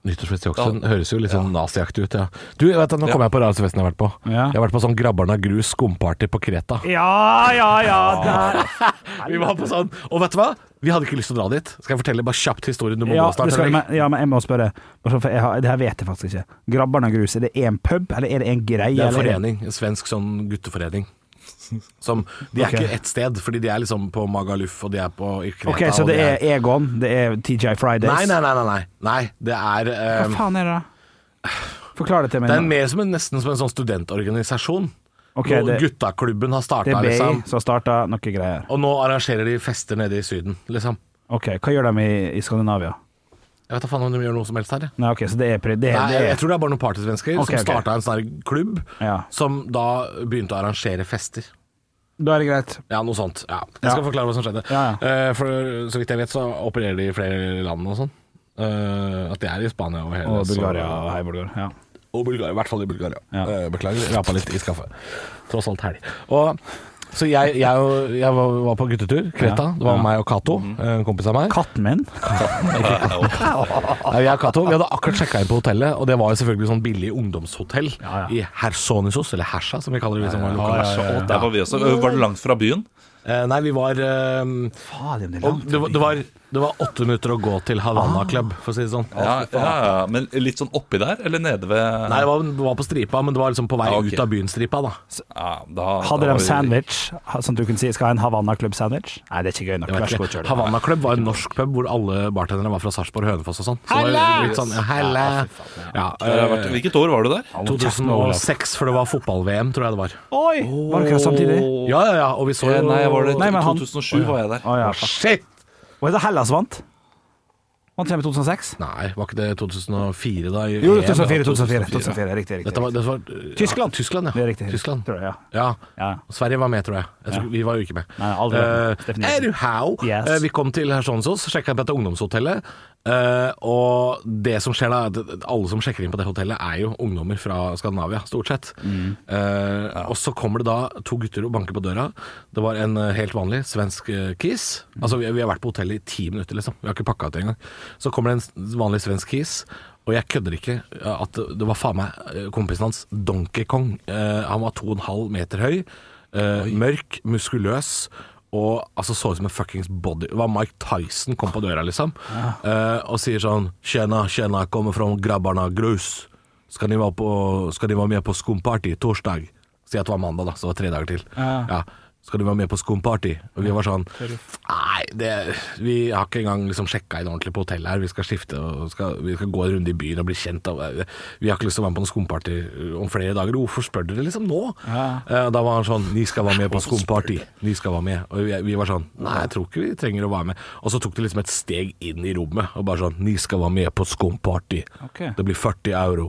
Speaker 3: Nyttårsfest i Hokksund høres jo litt sånn naziaktig ut, ja. Du, vet du, nå kom
Speaker 5: Ja.
Speaker 3: jeg på rareste festen jeg har vært på.
Speaker 4: Ja.
Speaker 3: Jeg har vært på sånn Grabbarna Grus skumparty på Kreta.
Speaker 4: ja, ja,
Speaker 3: Ah,
Speaker 4: ja. Der.
Speaker 3: Vi var på sånn Og vet du hva? Vi hadde ikke lyst til å dra dit. Skal jeg fortelle bare kjapt historien du må
Speaker 4: Ja,
Speaker 3: gå snart?
Speaker 4: det skal,
Speaker 3: eller?
Speaker 4: men, ja, men jeg må spørre. Bare sånn, For jeg har, det her vet jeg faktisk ikke. Grabbarna Grus, er det én pub, eller er det en greie?
Speaker 3: det er en
Speaker 4: eller
Speaker 3: forening. En svensk sånn gutteforening. Som, de er
Speaker 4: Ok.
Speaker 3: ikke ett sted, fordi de er liksom på Magaluf, og de er på i Kreta.
Speaker 4: Ok, så
Speaker 3: og
Speaker 4: det
Speaker 3: de
Speaker 4: er Egon, det er TJ Fridays.
Speaker 3: nei, nei, nei, nei, nei. Nei, det er eh,
Speaker 4: Hva faen er det da? Forklar det til meg.
Speaker 3: Det er
Speaker 4: nå.
Speaker 3: mer som en, nesten som en sånn studentorganisasjon.
Speaker 4: Ok,
Speaker 3: Hvor
Speaker 4: det,
Speaker 3: Guttaklubben har
Speaker 4: det
Speaker 3: starta,
Speaker 4: er BI
Speaker 3: liksom.
Speaker 4: som starta noe greier.
Speaker 3: Og nå arrangerer de fester nede i Syden, liksom.
Speaker 4: Ok, Hva gjør de i, i Skandinavia?
Speaker 3: Jeg vet da faen om de gjør noe som helst her, jeg.
Speaker 4: Nei, ok, så det er, pri- det er,
Speaker 3: Nei,
Speaker 4: det
Speaker 3: jeg,
Speaker 4: er.
Speaker 3: jeg tror det er bare noen partysvensker
Speaker 4: Ok, ok.
Speaker 3: som starta en sånn her klubb,
Speaker 4: Ja.
Speaker 3: som da begynte å arrangere fester.
Speaker 4: Da er det greit.
Speaker 3: Ja, noe sånt. Ja. Jeg skal
Speaker 4: Ja.
Speaker 3: forklare hva som skjedde.
Speaker 4: Ja, ja.
Speaker 3: Eh, For så vidt jeg vet, så opererer de i flere land og sånn. Eh, at det er i Spania og hele
Speaker 4: Og Bulgaria.
Speaker 3: så-
Speaker 4: Hei, Bulgaria. Ja.
Speaker 3: og Bulgaria, i hvert fall i Bulgaria.
Speaker 4: Ja.
Speaker 3: Eh, Beklager, rapa litt i skaffet. Tross alt helg. Og Så jeg, jeg, og- jeg var, var på guttetur, Kreta. Det var meg og Cato,
Speaker 4: Mhm.
Speaker 3: en kompis av meg.
Speaker 4: Kattmenn?
Speaker 3: Nei, jeg og Cato vi hadde akkurat sjekka inn på hotellet, og det var jo selvfølgelig sånn billig ungdomshotell
Speaker 4: Ja, ja.
Speaker 3: i Hersonisos, eller Hersa, som vi kaller det. Liksom, lokalt.
Speaker 5: Og der var vi også. Var det langt fra byen?
Speaker 3: Eh, Nei, vi var eh,
Speaker 4: Fader, men det er
Speaker 3: og
Speaker 4: langt.
Speaker 3: det, var- det, var, det var åtte minutter å gå til Havanna Club, for å si det sånn.
Speaker 5: Ja, ja, ja. Men litt sånn oppi der, eller nede ved
Speaker 3: Nei, det var, det var på stripa, men det var liksom på vei
Speaker 5: Ja, ok.
Speaker 3: ut av byen-stripa, da.
Speaker 5: ja, da,
Speaker 4: Hadde
Speaker 5: da var
Speaker 4: de
Speaker 5: vi-
Speaker 4: sandwich? Ha- Sånn at du kunne si 'skal jeg ha en Havanna Club sandwich'? Nei, det er ikke gøy nok.
Speaker 3: Jeg
Speaker 4: Vær
Speaker 3: vet
Speaker 4: så god,
Speaker 3: ikke.
Speaker 4: kjør det.
Speaker 3: Havanna Club var en norsk pub hvor alle bartenderne var fra Sarpsborg, Hønefoss og sånn. Så det var litt sånn, ja, Helle! Ja, eh,
Speaker 5: Ja, det Eh, har vært- Hvilket år var du der?
Speaker 4: Hold kjeft nå, Olav.
Speaker 3: 2006, for det var fotball-VM, tror jeg det var.
Speaker 4: Oi! Var det ikke samtidig?
Speaker 3: Ja, ja, ja, og vi så
Speaker 5: Eh,
Speaker 3: jo
Speaker 5: Nei, jeg var det
Speaker 4: Nei, men han-
Speaker 5: 2007 var jeg der.
Speaker 4: Å, ja.
Speaker 3: Shit!
Speaker 4: Var det Hellas vant? Vant de med 2006?
Speaker 3: Nei, var ikke det 2004 da? i
Speaker 4: Jo,
Speaker 3: EM?
Speaker 4: 2004. 2004,
Speaker 3: 2004.
Speaker 4: riktig, riktig.
Speaker 3: Dette var, dette var, ja,
Speaker 4: Tyskland.
Speaker 3: Tyskland, ja.
Speaker 4: Det er riktig.
Speaker 3: Tyskland.
Speaker 4: Tror jeg, ja.
Speaker 3: Ja.
Speaker 4: Ja.
Speaker 3: Sverige var med, tror jeg. jeg tror, Vi var jo ikke med.
Speaker 4: Nei, aldri vært med.
Speaker 3: Eh,
Speaker 4: Definitivt.
Speaker 3: anyhow,
Speaker 4: Yes.
Speaker 3: eh, vi kom til Hersonsos, sjekka på dette ungdomshotellet. eh, og det som skjer da, er at alle som sjekker inn på det hotellet, er jo ungdommer fra Skandinavia, stort sett. Eh, Og så kommer det da to gutter og banker på døra. Det var en eh, helt vanlig svensk eh, kis. Altså, vi, vi har vært på hotellet i ti minutter, liksom. Vi har ikke pakka ut engang. Så kommer det en s- vanlig svensk kis. Og jeg kødder ikke eh, at det var faen meg eh, kompisen hans, Donkey Kong. Eh, han var to og en halv meter høy. eh, mørk, muskuløs. Og altså så ut som en fuckings body Det var Mike Tyson kom på døra, liksom. Eh, og sier sånn Tjena, tjena, jeg kommer fra grabbarna Grus. Skal de være, på, skal de være med på skumparty torsdag? Si at det var mandag, da, så det var tre dager til. Ja. Skal de være med på skumparty? Og vi var sånn Nei, det, vi har ikke engang liksom sjekka inn ordentlig på hotellet her. Vi skal skifte og skal, vi skal gå en runde i byen og bli kjent. Og, vi har ikke lyst til å være med på noe skumparty eh, om flere dager. Hvorfor spør dere liksom nå? Eh, Da var han sånn Ni skal være med på skumparty. Ni skal være med. Og vi, vi var sånn Nei, jeg tror ikke vi trenger å være med. Og så tok det liksom et steg inn i rommet og bare sånn Ni skal være med på skumparty.
Speaker 4: Ok.
Speaker 3: Det blir 40 euro.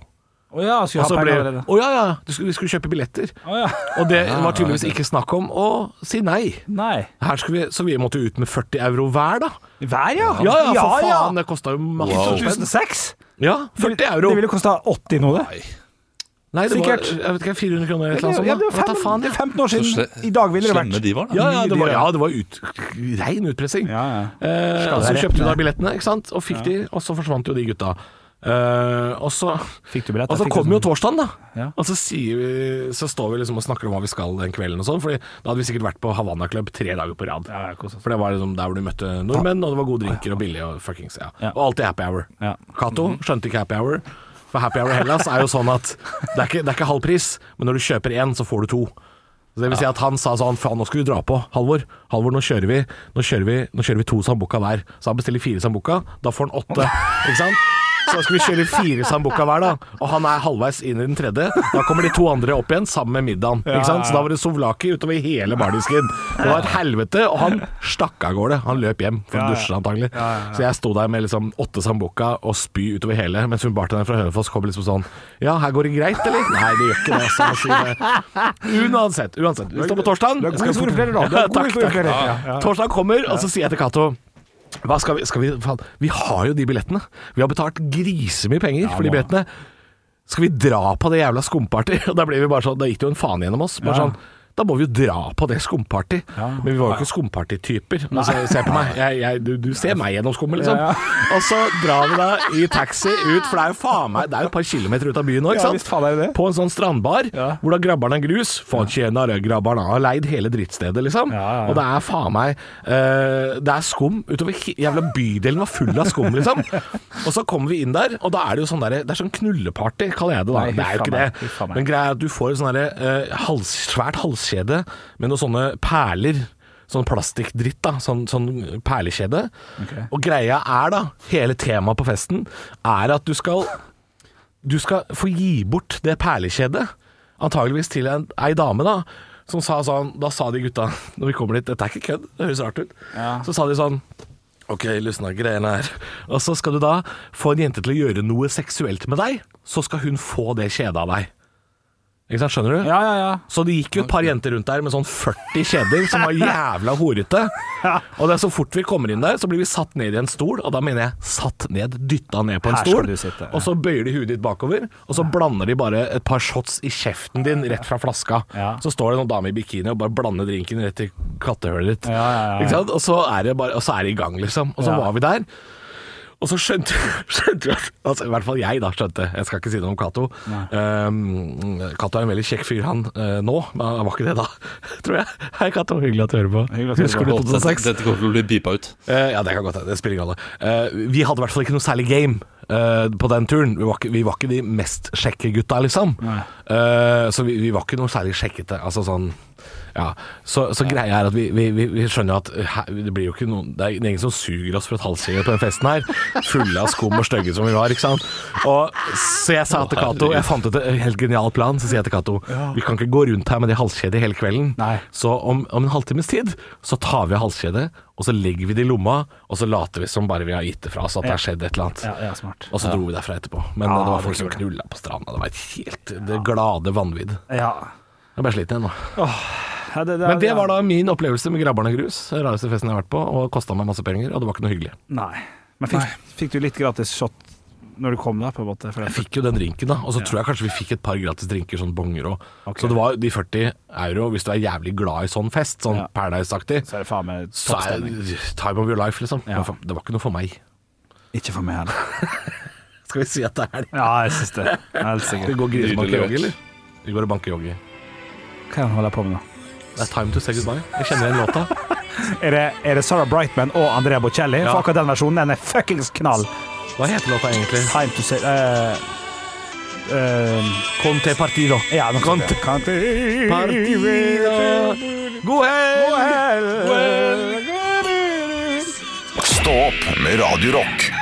Speaker 4: Å ja,
Speaker 3: Og
Speaker 4: skulle
Speaker 3: så
Speaker 4: ha
Speaker 3: ble
Speaker 4: penger
Speaker 3: Å
Speaker 4: allerede.
Speaker 3: ja, ja, du skulle, vi skulle kjøpe billetter.
Speaker 4: Å ja.
Speaker 3: Og det var tydeligvis ikke snakk om å si nei.
Speaker 4: Nei.
Speaker 3: Her skulle vi, så vi måtte jo ut med 40 euro hver, da.
Speaker 4: Hver, ja?
Speaker 3: Ja ja, for faen, det kosta jo masse spenn.
Speaker 4: 2006?
Speaker 3: Ja, 40 euro.
Speaker 4: Det ville kosta 80 nå, det.
Speaker 3: Nei, det var,
Speaker 4: sikkert.
Speaker 3: jeg vet ikke, 400 kroner eller noe sånt.
Speaker 4: Ja, det
Speaker 3: da.
Speaker 4: er
Speaker 3: Vet da faen,
Speaker 4: 15, det
Speaker 3: ja.
Speaker 4: er 15 år
Speaker 5: Så
Speaker 4: siden.
Speaker 5: sle-
Speaker 4: I dag ville det
Speaker 5: Slemme
Speaker 4: vært
Speaker 5: de var, da.
Speaker 3: Ja, ja, det var,
Speaker 4: Mye
Speaker 3: ja,
Speaker 4: dyrere.
Speaker 3: det var ut, rein utpressing.
Speaker 4: Ja, ja.
Speaker 3: Eh,
Speaker 4: Skal
Speaker 3: så
Speaker 4: det
Speaker 3: kjøpte du
Speaker 4: rett
Speaker 3: da billettene, ikke sant, og fikk de, og så forsvant jo de gutta. Eh, og så
Speaker 4: Fikk du billett?
Speaker 3: Og så
Speaker 4: Fikk du
Speaker 3: kom jo
Speaker 4: sånn-
Speaker 3: torsdagen, da.
Speaker 4: Ja.
Speaker 3: Og så, sier vi, så står vi liksom og snakker om hva vi skal den kvelden og sånn, Fordi da hadde vi sikkert vært på Havanna Club tre dager på rad.
Speaker 4: Ja, ja, kos oss.
Speaker 3: For det var liksom der hvor du møtte nordmenn, og det var gode drinker og billig og fuckings ja.
Speaker 4: Ja.
Speaker 3: Og alltid happy hour.
Speaker 4: Ja. Mhm.
Speaker 3: Cato skjønte ikke happy hour. For happy hour i Hellas er jo sånn at det er ikke, det er ikke halv pris, men når du kjøper én, så får du to. Så det vil si at han sa sånn Faen, nå skal vi dra på, Halvor. Halvor, nå kjører vi Nå kjører vi, nå kjører vi to sambuca hver. Så han bestiller fire sambuca. Da får han åtte, ikke sant? Så da skal vi kjøre fire sambuca hver, da. Og han er halvveis inn i den tredje. Da kommer de to andre opp igjen sammen med middagen. Ikke sant? Så da var det souvlaki utover hele bardisken. Det var et helvete, og han stakk av gårde. Han løp hjem for å dusje, antagelig. Så jeg sto der med liksom åtte sambuca og spy utover hele, mens hun bartenderen fra Hønefoss kom liksom sånn Ja, her går det greit, eller? Nei, det gjør ikke det. Så må jeg si det. Uansett, uansett. Vi står på torsdagen.
Speaker 4: Du er god historieforteller, da. Du er
Speaker 3: Ja,
Speaker 4: god
Speaker 3: takk, takk.
Speaker 4: historieforteller. Ja, ja.
Speaker 3: Torsdag kommer, og så sier jeg til Cato hva skal vi, skal vi, faen, vi har jo de billettene. Vi har betalt grisemye penger for de billettene. Skal vi dra på det jævla skumparty? Og da ble vi bare sånn, da gikk det jo en faen gjennom oss. Bare sånn, da må vi jo dra på det skumparty. Men vi var jo ikke skumpartytyper. Men se, se på meg. Jeg, jeg, du, du ser meg gjennom skummet, liksom. Og så drar vi da i taxi ut, for det er jo faen meg Det er jo et par kilometer ut av byen nå, ikke
Speaker 4: Ja,
Speaker 3: sant?
Speaker 4: visst faen er det det.
Speaker 3: på en sånn strandbar,
Speaker 4: Ja.
Speaker 3: hvor da grabbarna er grus. Faen tjener, grabbarna har leid hele drittstedet, liksom.
Speaker 4: ja, ja.
Speaker 3: Og det er faen meg eh, Det er skum utover he- Jævla bydelen var full av skum, liksom. og så kommer vi inn der, og da er det jo sånn derre Det er sånn knulleparty, kaller jeg det da.
Speaker 4: Nei,
Speaker 3: det er jo
Speaker 4: huffa
Speaker 3: ikke
Speaker 4: meg,
Speaker 3: det.
Speaker 4: huffa meg.
Speaker 3: Men greia er at du får sånn derre eh, hals, svært halskjede med noen sånne perler. Sånn plastikkdritt, da. Sånn, sånn perlekjede. Og greia er, da, hele temaet på festen, er at du skal du skal få gi bort det perlekjedet, antageligvis til en, ei dame da, som sa sånn, da sa de gutta, når vi kommer dit, dette er ikke kødd, det høres rart ut, så sa de sånn, ok, løsna greiene her, og så skal du da få en jente til å gjøre noe seksuelt med deg, så skal hun få det kjedet av deg. Ikke sant, Skjønner du?
Speaker 4: Ja, ja, ja.
Speaker 3: Så det gikk jo et par jenter rundt der med sånn 40 kjeder som var jævla horete. Og det er så fort vi kommer inn der, så blir vi satt ned i en stol, og da mener jeg satt ned, dytta ned på en
Speaker 4: Her skal
Speaker 3: stol.
Speaker 4: du sitte, ja.
Speaker 3: Og så bøyer de huet ditt bakover, og så blander de bare et par shots i kjeften din rett fra flaska.
Speaker 4: Ja.
Speaker 3: Så står det noen dame i bikini og bare blander drinken rett i kattehølet ditt.
Speaker 4: ja, ja.
Speaker 3: Ikke sant? Og så er det bare, og så er det i gang, liksom. Og så
Speaker 4: Ja.
Speaker 3: var vi der. Og så skjønte, skjønte vi at altså, I hvert fall jeg da skjønte Jeg skal ikke si noe om Cato. Um, Cato er en veldig kjekk fyr, han eh, nå. Men han var ikke det da, tror jeg. Hei, Cato. Hyggelig at du hører på.
Speaker 4: Hyggelig at du hører
Speaker 3: Husker du
Speaker 5: Å, dette,
Speaker 3: 2006?
Speaker 5: dette kommer til å bli pipa ut.
Speaker 3: Eh, ja, det kan godt hende. Det spiller ingen rolle. Eh, vi hadde i hvert fall ikke noe særlig game eh, på den turen. Vi var ikke, vi var ikke de mest sjekke gutta, liksom. Eh, så vi, vi var ikke noe særlig sjekkete. Altså sånn ja. Så, så greia er at vi, vi, vi, vi skjønner at eh, her, det blir jo ikke noen Det er ingen som suger oss for et halvsinger på den festen her. Fulle av skum og stygge som vi var, ikke sant. Og, så jeg sa til Cato Jeg fant ut en helt genial plan. Så sier jeg til Cato Vi kan ikke gå rundt her med det halskjedet hele kvelden.
Speaker 4: Nei.
Speaker 3: Så om, om en halvtimes tid så tar vi av halskjedet, og så legger vi det i lomma, og så later vi som bare vi har gitt det fra oss, at det har skjedd et eller annet.
Speaker 4: Ja, ja, smart.
Speaker 3: Og så dro vi derfra etterpå. Men eh, det var folk som knulla på stranda. Det var et helt det glade vanvidd.
Speaker 4: Ja.
Speaker 3: Jeg ble sliten igjen nå.
Speaker 4: Ja, det,
Speaker 3: Men det var da min opplevelse med Grabbarn og grus. Rareste festen jeg har vært på, og kosta meg masse penger, og det var ikke noe hyggelig.
Speaker 4: Nei. Men fikk, fikk du litt gratis shot når du kom deg, på en måte? For det-
Speaker 3: Jeg fikk jo den drinken, da, og så tror jeg kanskje vi fikk et par gratis drinker, sånn bonger òg.
Speaker 4: Ok.
Speaker 3: Så det var de 40 euro, hvis du er jævlig glad i sånn fest, sånn
Speaker 4: Ja.
Speaker 3: Paradise-aktig,
Speaker 4: så er det faen meg
Speaker 3: så er
Speaker 4: toppstemning.
Speaker 3: det time of your life, liksom.
Speaker 4: Ja.
Speaker 3: Men Det var ikke noe for meg.
Speaker 4: Ikke for meg heller.
Speaker 3: Skal vi si at det er det?
Speaker 4: Ja, jeg syns det. Helt
Speaker 3: Vi
Speaker 4: sikkert.
Speaker 3: går grisebanke-joggi,
Speaker 5: levert.
Speaker 3: eller? Vi går og banker-joggi.
Speaker 4: Hva er det han holder på med nå?
Speaker 3: Det er time to say goodbye. Jeg kjenner igjen låta.
Speaker 4: Er det, er det Sarah Brightman og Andrea Bocelli?
Speaker 3: Ja.
Speaker 4: For akkurat den versjonen, den er fuckings knall.
Speaker 3: Hva heter låta egentlig?
Speaker 4: Time to say eh, eh,
Speaker 3: Conte partido.
Speaker 4: Ja, noe sånt.
Speaker 3: God helg!
Speaker 4: Well,
Speaker 1: Stå opp med Radio Rock.